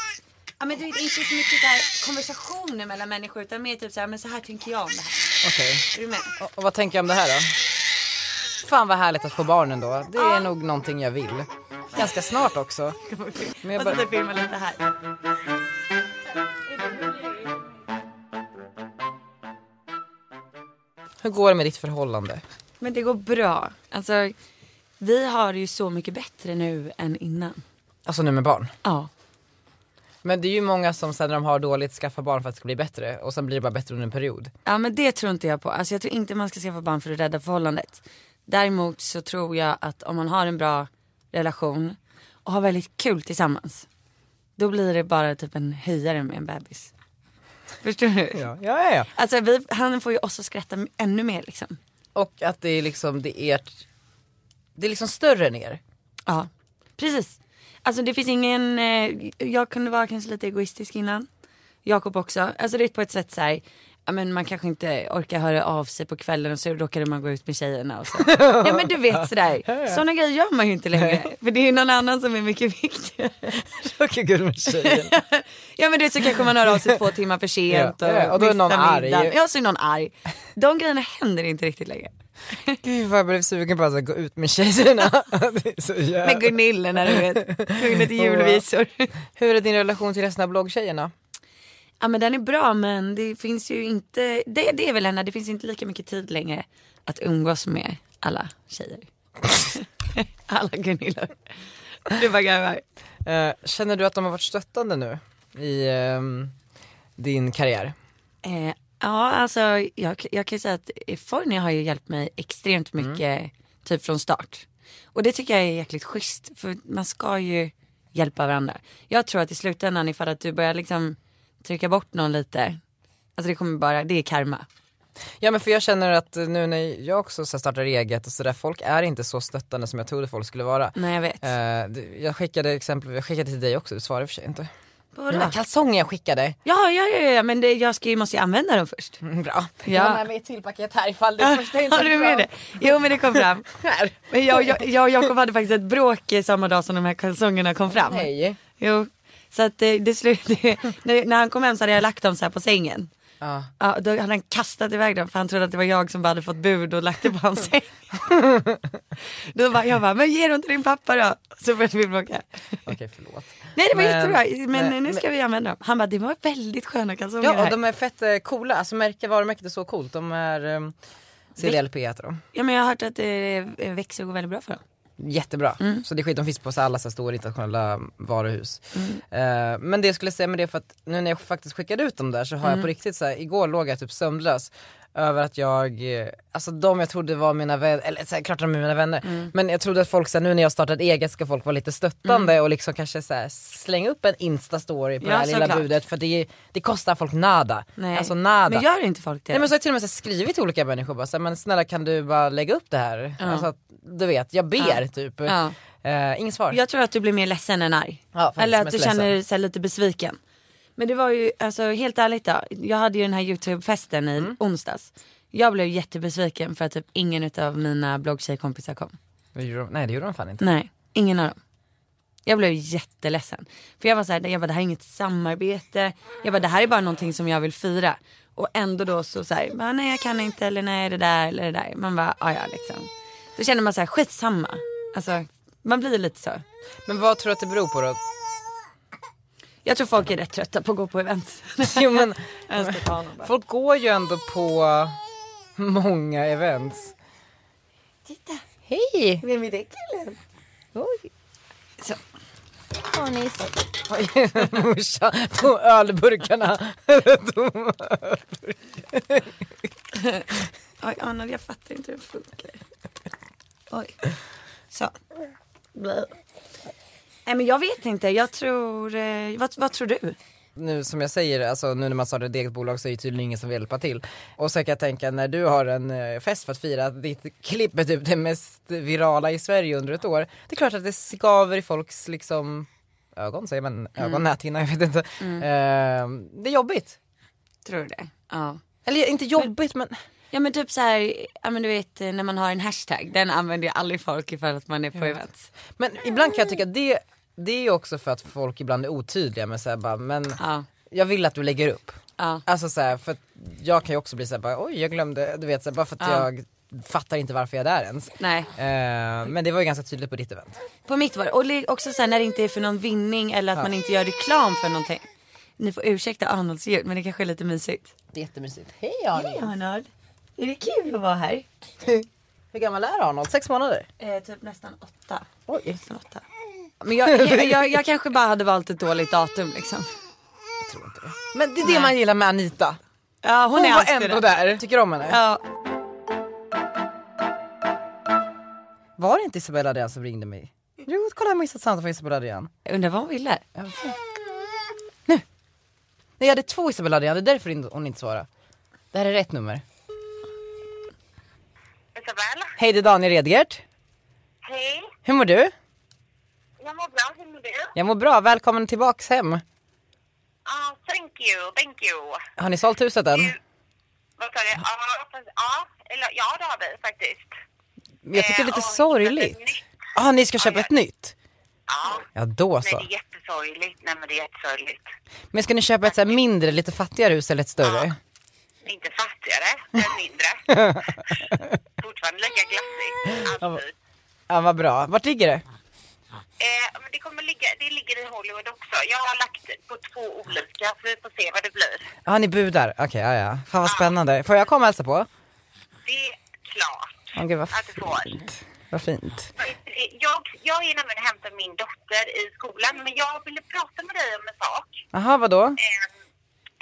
[SPEAKER 2] Ja men du vet inte så mycket där konversationer mellan människor utan mer typ såhär men så här tänker jag om det här.
[SPEAKER 1] Okej.
[SPEAKER 2] Är du med?
[SPEAKER 1] Och, och vad tänker jag om det här då? Fan vad härligt att få barnen då. Det är nog någonting jag vill. Ganska snart också. Men jag
[SPEAKER 2] Och
[SPEAKER 1] bara-
[SPEAKER 2] så filma lite här.
[SPEAKER 1] Hur går det med ditt förhållande?
[SPEAKER 2] Men det går bra. Alltså vi har det ju så mycket bättre nu än innan.
[SPEAKER 1] Alltså nu med barn?
[SPEAKER 2] Ja.
[SPEAKER 1] Men det är ju många som sen när de har dåligt skaffar barn för att det ska bli bättre och sen blir det bara bättre under en period.
[SPEAKER 2] Ja men det tror inte jag på. Alltså jag tror inte man ska skaffa barn för att rädda förhållandet. Däremot så tror jag att om man har en bra relation och har väldigt kul tillsammans. Då blir det bara typ en höjare med en bebis. Förstår du?
[SPEAKER 1] Ja, ja, ja.
[SPEAKER 2] Alltså vi, han får ju oss att skratta m- ännu mer liksom.
[SPEAKER 1] Och att det är liksom, det är ert, det är liksom större än er.
[SPEAKER 2] Ja, precis. Alltså det finns ingen, eh, jag kunde vara kanske lite egoistisk innan. Jakob också. Alltså det är på ett sätt så här, ja men man kanske inte orkar höra av sig på kvällen och så råkade man gå ut med tjejerna och så. ja men du vet sådär, sådana grejer gör man ju inte längre. För det är ju någon annan som är mycket viktigare.
[SPEAKER 1] Vilken gul med tjejen.
[SPEAKER 2] Ja men du vet så kanske man hör av sig två timmar för sent
[SPEAKER 1] Ja, ja, och då är någon
[SPEAKER 2] missar
[SPEAKER 1] arg.
[SPEAKER 2] middagen. Ja så är någon arg. De grejerna händer inte riktigt längre.
[SPEAKER 1] Gud vad jag blev sugen på att så här gå ut med tjejerna. det är så jävla...
[SPEAKER 2] Med Gunillorna du vet, sjungde till julvisor.
[SPEAKER 1] Hur är din relation till resten av bloggtjejerna?
[SPEAKER 2] Ja men den är bra men det finns ju inte, det, det är väl en, det finns inte lika mycket tid längre att umgås med alla tjejer. alla Gunillor. Du bara garvar.
[SPEAKER 1] Eh, känner du att de har varit stöttande nu i ehm, din karriär?
[SPEAKER 2] Eh, ja alltså jag, jag kan ju säga att Forni har ju hjälpt mig extremt mycket typ från start. Och det tycker jag är jäkligt schysst för man ska ju hjälpa varandra. Jag tror att i slutändan ifall att du börjar liksom trycka bort någon lite, alltså det kommer bara, det är karma.
[SPEAKER 1] Ja men för jag känner att nu när jag också så här startar eget och sådär, folk är inte så stöttande som jag trodde folk skulle vara.
[SPEAKER 2] Nej jag vet.
[SPEAKER 1] Eh, det- jag skickade exempel, jag skickade till dig också, du svarade i och för sig inte.
[SPEAKER 2] På
[SPEAKER 1] Den där kalsongen jag skickade.
[SPEAKER 2] Ja, ja, ja, ja men det, jag ska ju, måste ju använda dem först.
[SPEAKER 1] Mm, Bra.
[SPEAKER 2] Ja.
[SPEAKER 1] Jag har med mig ett till paket här ifall det första inte
[SPEAKER 2] Har du med det? Jo men det kom fram.
[SPEAKER 1] Här.
[SPEAKER 2] Men jag, jag, jag och Jakob hade faktiskt ett bråk eh, samma dag som de här kalsongerna kom fram.
[SPEAKER 1] Nej.
[SPEAKER 2] Jo. Så att eh, det slutade, när, när han kom hem så hade jag lagt dem så här på sängen.
[SPEAKER 1] Ja.
[SPEAKER 2] Ja, då hade han kastat iväg den för han trodde att det var jag som bara hade fått bud och lagt det på hans säng. då bara, jag bara, men ge dem till din pappa då. Så började vi bråka.
[SPEAKER 1] Okej, förlåt.
[SPEAKER 2] Nej det var
[SPEAKER 1] Men-
[SPEAKER 2] jättebra, men
[SPEAKER 1] men-
[SPEAKER 2] nu ska vi använda dem. Han bara, det var väldigt sköna kalsonger
[SPEAKER 1] Ja, och
[SPEAKER 2] här.
[SPEAKER 1] de är fett eh, coola. Alltså märke, varumärket är så coolt. De är... ehm, CDLP heter de.
[SPEAKER 2] Ja men jag har hört att eh, växer går väldigt bra för dem.
[SPEAKER 1] Jättebra.
[SPEAKER 2] Mm.
[SPEAKER 1] Så det är skit, de finns på så här alla så här stora internationella varuhus.
[SPEAKER 2] Mm.
[SPEAKER 1] Eh, men det jag skulle säga med det är för att nu när jag faktiskt skickade ut dem där så har jag
[SPEAKER 2] Mm.
[SPEAKER 1] på riktigt så här, igår låg jag typ sömnlös över att jag, eh, alltså de jag trodde var mina vänner, eller så här, klart de är mina vänner,
[SPEAKER 2] Mm.
[SPEAKER 1] men jag trodde att folk så här, nu när jag startat eget ska folk vara lite stöttande och liksom kanske så här, slänga upp en instastory på
[SPEAKER 2] Mm.
[SPEAKER 1] det
[SPEAKER 2] Ja,
[SPEAKER 1] här lilla
[SPEAKER 2] såklart.
[SPEAKER 1] budet för det, det kostar folk nada.
[SPEAKER 2] Nej.
[SPEAKER 1] Alltså nada.
[SPEAKER 2] Men gör inte folk det?
[SPEAKER 1] Nej men så har jag till och med så här skrivit till olika människor bara så här, men snälla kan du bara lägga upp det här?
[SPEAKER 2] Ja.
[SPEAKER 1] Alltså att, du vet, jag ber
[SPEAKER 2] Ja.
[SPEAKER 1] typ.
[SPEAKER 2] Ja.
[SPEAKER 1] Eh, inget svar.
[SPEAKER 2] Jag tror att du blir mer ledsen än arg.
[SPEAKER 1] Ja, faktiskt,
[SPEAKER 2] Eller att
[SPEAKER 1] mest
[SPEAKER 2] du
[SPEAKER 1] ledsen.
[SPEAKER 2] känner dig lite besviken. Men det var ju, alltså helt ärligt då. Jag hade ju den här YouTube-festen
[SPEAKER 1] Mm.
[SPEAKER 2] i onsdags. Jag blev jättebesviken för att typ ingen av mina bloggtjejkompisar kom.
[SPEAKER 1] Det gjorde de- Nej det gjorde de fan inte.
[SPEAKER 2] Nej, ingen av dem. Jag blev jätteledsen. För jag var så här, jag bara, det här är inget samarbete. Jag bara, det här är bara någonting som jag vill fira. Och ändå då så så här, bara, nej jag kan inte eller nej det där eller det där. Man bara, ja ja liksom. Då känner man så här, skitsamma. Alltså, man blir lite så.
[SPEAKER 1] Men vad tror du att det beror på då?
[SPEAKER 2] Jag tror folk är rätt trötta på att gå på event.
[SPEAKER 1] Jo, men,
[SPEAKER 2] jag ska ta honom bara.
[SPEAKER 1] Folk går ju ändå på många events. Hej!
[SPEAKER 2] Vem är det killen?
[SPEAKER 1] Oj.
[SPEAKER 2] Så.
[SPEAKER 1] Anis. Morsan, de ölburkarna. de ölburkarna.
[SPEAKER 2] Oj, Arnold jag fattar inte hur det funkar. Oj. Så. Blä. Nej men jag vet inte, jag tror, eh, vad, vad tror du?
[SPEAKER 1] nu som jag säger, alltså nu när man startar ett eget bolag så är det tydligen ingen som vill hjälpa till. Och så kan jag tänka när du har en eh, fest för att fira att ditt klipp är typ det mest virala i Sverige under ett år. Det är klart att det skaver i folks liksom ögon säger man, ögon, näthinna, jag vet inte. Eh, det är jobbigt.
[SPEAKER 2] Tror du det? Ja.
[SPEAKER 1] Eller inte jobbigt men,
[SPEAKER 2] Ja men typ så här, ja men du vet eh, när man har en hashtag, den använder ju aldrig folk ifall att man är på events.
[SPEAKER 1] men ibland kan jag tycka att det, det är ju också för att folk ibland är otydliga men såhär bara men
[SPEAKER 2] Ja.
[SPEAKER 1] jag vill att du lägger upp.
[SPEAKER 2] Ja.
[SPEAKER 1] Alltså så här, för att jag kan ju också bli såhär bara oj jag glömde, du vet såhär bara för att
[SPEAKER 2] Ja.
[SPEAKER 1] jag fattar inte varför jag är där ens.
[SPEAKER 2] Nej.
[SPEAKER 1] Eh, men det var ju ganska tydligt på ditt event.
[SPEAKER 2] På mitt var det. Och li- också så här, när det inte är för någon vinning eller att man inte gör reklam för någonting. Ni får ursäkta Arnolds ljud men det kanske är lite mysigt.
[SPEAKER 1] Det är jättemysigt. Hej Arnold!
[SPEAKER 2] Hej Arnold! Är det kul att vara här?
[SPEAKER 1] Hur gammal är Arnold? Sex månader?
[SPEAKER 2] Eh, typ nästan åtta.
[SPEAKER 1] Oj.
[SPEAKER 2] Nästan åtta. Men jag, jag, jag, jag kanske bara hade valt ett dåligt datum liksom.
[SPEAKER 1] Jag tror inte det. Men det är det man gillar med Anita.
[SPEAKER 2] Ja hon,
[SPEAKER 1] Hon,
[SPEAKER 2] är
[SPEAKER 1] var
[SPEAKER 2] alltid
[SPEAKER 1] ändå
[SPEAKER 2] det.
[SPEAKER 1] där. Tycker du om henne?
[SPEAKER 2] Ja.
[SPEAKER 1] Var det inte Isabella Adrian som ringde mig? Jo, kolla jag har missat samtal från Isabella Adrian.
[SPEAKER 2] Jag undrar vad hon ville.
[SPEAKER 1] Nej jag hade två Isabella Adrian, det är därför in- hon inte svarade. Det här är rätt nummer.
[SPEAKER 11] Isabel,
[SPEAKER 1] Hej det är Daniel Redgert.
[SPEAKER 11] hej.
[SPEAKER 1] Hur mår du?
[SPEAKER 11] Jag mår bra, hur mår du?
[SPEAKER 1] Jag mår bra, välkommen tillbaks hem.
[SPEAKER 11] Ah, thank you, thank you.
[SPEAKER 1] Har ni sålt huset än?
[SPEAKER 11] Vad sa du? Ja, fast- ja, eller ja det har vi faktiskt.
[SPEAKER 1] Jag tycker det är lite
[SPEAKER 11] Eh, och-
[SPEAKER 1] sorgligt. Ah, ni ska köpa ett nytt?
[SPEAKER 11] Ja,
[SPEAKER 1] Ja då
[SPEAKER 11] nej,
[SPEAKER 1] så.
[SPEAKER 11] det är jättesorgligt. Nej, men det är jättesorgligt.
[SPEAKER 1] Men ska ni köpa ett så här mindre, lite fattigare hus eller ett större?
[SPEAKER 11] Inte fattigare, men mindre. Fortfarande lika glassigt. Absolut.
[SPEAKER 1] Ja vad bra. Vart ligger det?
[SPEAKER 11] Eh, men det, kommer ligga, det ligger i Hollywood också. Jag har lagt på två olika, så vi får se vad det blir.
[SPEAKER 1] Ja ni budar. Okej, ja ja. Fan vad spännande. Får jag komma och hälsa på?
[SPEAKER 11] Det är klart.
[SPEAKER 1] Åh gud vad
[SPEAKER 11] Att du får.
[SPEAKER 1] fint. Vad fint.
[SPEAKER 11] Jag, jag är nämligen och hämtar min dotter i skolan, men jag ville prata med dig om en sak.
[SPEAKER 1] Jaha vadå?
[SPEAKER 11] Eh,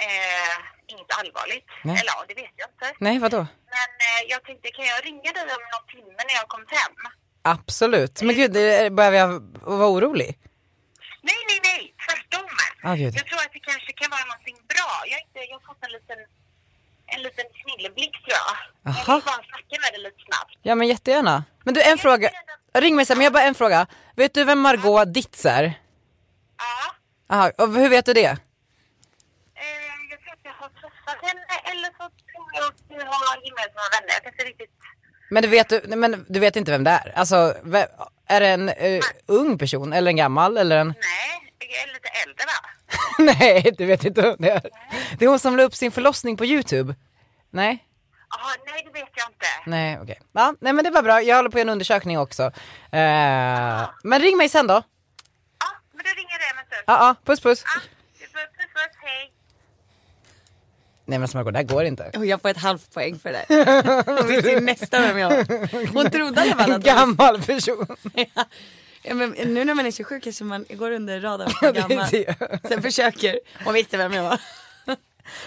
[SPEAKER 11] eh, inget allvarligt.
[SPEAKER 1] Nej.
[SPEAKER 11] Eller ja, det vet jag inte.
[SPEAKER 1] Nej vadå?
[SPEAKER 11] Men eh, jag tänkte, kan jag ringa dig om någon timme när jag har kommit hem?
[SPEAKER 1] Absolut. Men gud, det- börjar jag vara orolig?
[SPEAKER 11] Nej, nej, nej, tvärtom.
[SPEAKER 1] Ah, gud.
[SPEAKER 11] jag tror att det kanske kan vara någonting bra. Jag, har inte, jag har fått en liten, en liten snilleblick tror jag. Jag
[SPEAKER 1] Aha.
[SPEAKER 11] vill bara snacka med dig lite snabbt.
[SPEAKER 1] Ja men jättegärna. Men du en fråga. Ring mig sen, men jag har bara en fråga. Vet du vem Margot Dietz är?
[SPEAKER 11] Ja,
[SPEAKER 1] Aha, och hur vet du det?
[SPEAKER 11] eh, jag tror att jag har träffat henne eller så tror jag att vi har gemensamma vänner. Jag kan inte riktigt...
[SPEAKER 1] Men du vet, nej, men du vet inte vem det är? Alltså, ve- är det en eh, ung person eller en gammal eller en...
[SPEAKER 11] Nej, Jessica är lite äldre va?
[SPEAKER 1] Nej, du vet inte vem det är. Det är hon som la upp sin förlossning på YouTube. Nej?
[SPEAKER 11] Jaha, nej det vet jag inte.
[SPEAKER 1] Nej, okej. Ja, nej men det var bra, jag håller på en undersökning också. Eh, men ring mig sen då.
[SPEAKER 11] Men då ringer jag dig om en stund.
[SPEAKER 1] Ja, ja, puss puss.
[SPEAKER 11] Puss puss, puss, hej.
[SPEAKER 1] Nej men alltså Margot, det här går inte.
[SPEAKER 2] Och jag får ett halvt poäng för det. Det är nästa vem jag var. Hon trodde i alla
[SPEAKER 1] En
[SPEAKER 2] fall att hon
[SPEAKER 1] gammal person.
[SPEAKER 2] Ja, men nu när man är 27 kanske man går under radarn
[SPEAKER 1] Ja,
[SPEAKER 2] för
[SPEAKER 1] det är
[SPEAKER 2] gammal.
[SPEAKER 1] det.
[SPEAKER 2] Sen försöker. Hon visste vem jag var.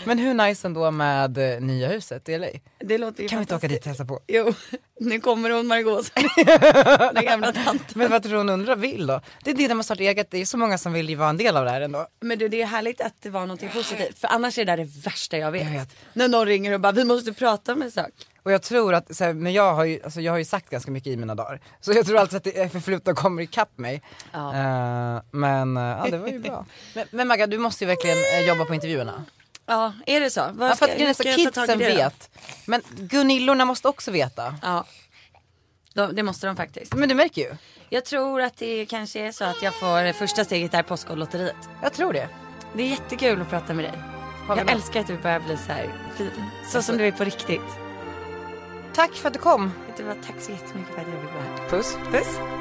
[SPEAKER 1] Men hur nice ändå med eh, nya huset i LA?
[SPEAKER 2] Det låter ju
[SPEAKER 1] Kan vi inte åka
[SPEAKER 2] fantastiskt.
[SPEAKER 1] dit och hälsa på?
[SPEAKER 2] Jo, nu kommer hon Margaux. Den gamla tanten.
[SPEAKER 1] Men vad tror du hon undrar vill då? Det är det när man startar eget, det är så många som vill ju vara en del av det här ändå.
[SPEAKER 2] Men du det är härligt att det var någonting positivt. För annars är det där det värsta jag vet. När någon ringer och bara vi måste prata om en sak.
[SPEAKER 1] Och jag tror att, så här, men jag har, ju, alltså jag har ju sagt ganska mycket i mina dagar. Så jag tror alltid att det är förflutna kommer ikapp mig.
[SPEAKER 2] Ja.
[SPEAKER 1] Eh, men eh, ja, det var ju bra. Men, men Magga, du måste ju verkligen eh, jobba på intervjuerna.
[SPEAKER 2] Ja, är det så? Vad
[SPEAKER 1] Ja, för
[SPEAKER 2] ska-
[SPEAKER 1] att grejen är så
[SPEAKER 2] ska jag ta tag
[SPEAKER 1] kidsen
[SPEAKER 2] i det då?
[SPEAKER 1] vet. Men Gunillorna måste också veta.
[SPEAKER 2] Ja, De, det måste de faktiskt.
[SPEAKER 1] Men du märker ju.
[SPEAKER 2] Jag tror att det kanske är så att jag får första steget där Postkodlotteriet.
[SPEAKER 1] Jag tror det.
[SPEAKER 2] Det är jättekul att prata med dig.
[SPEAKER 1] Har vi
[SPEAKER 2] Jag
[SPEAKER 1] något?
[SPEAKER 2] älskar att du börjar bli så här fin. Så som du är på riktigt.
[SPEAKER 1] Tack för att du kom.
[SPEAKER 2] Vet du vad, tack så jättemycket för att jag fick vara här.
[SPEAKER 1] Puss.
[SPEAKER 2] Puss.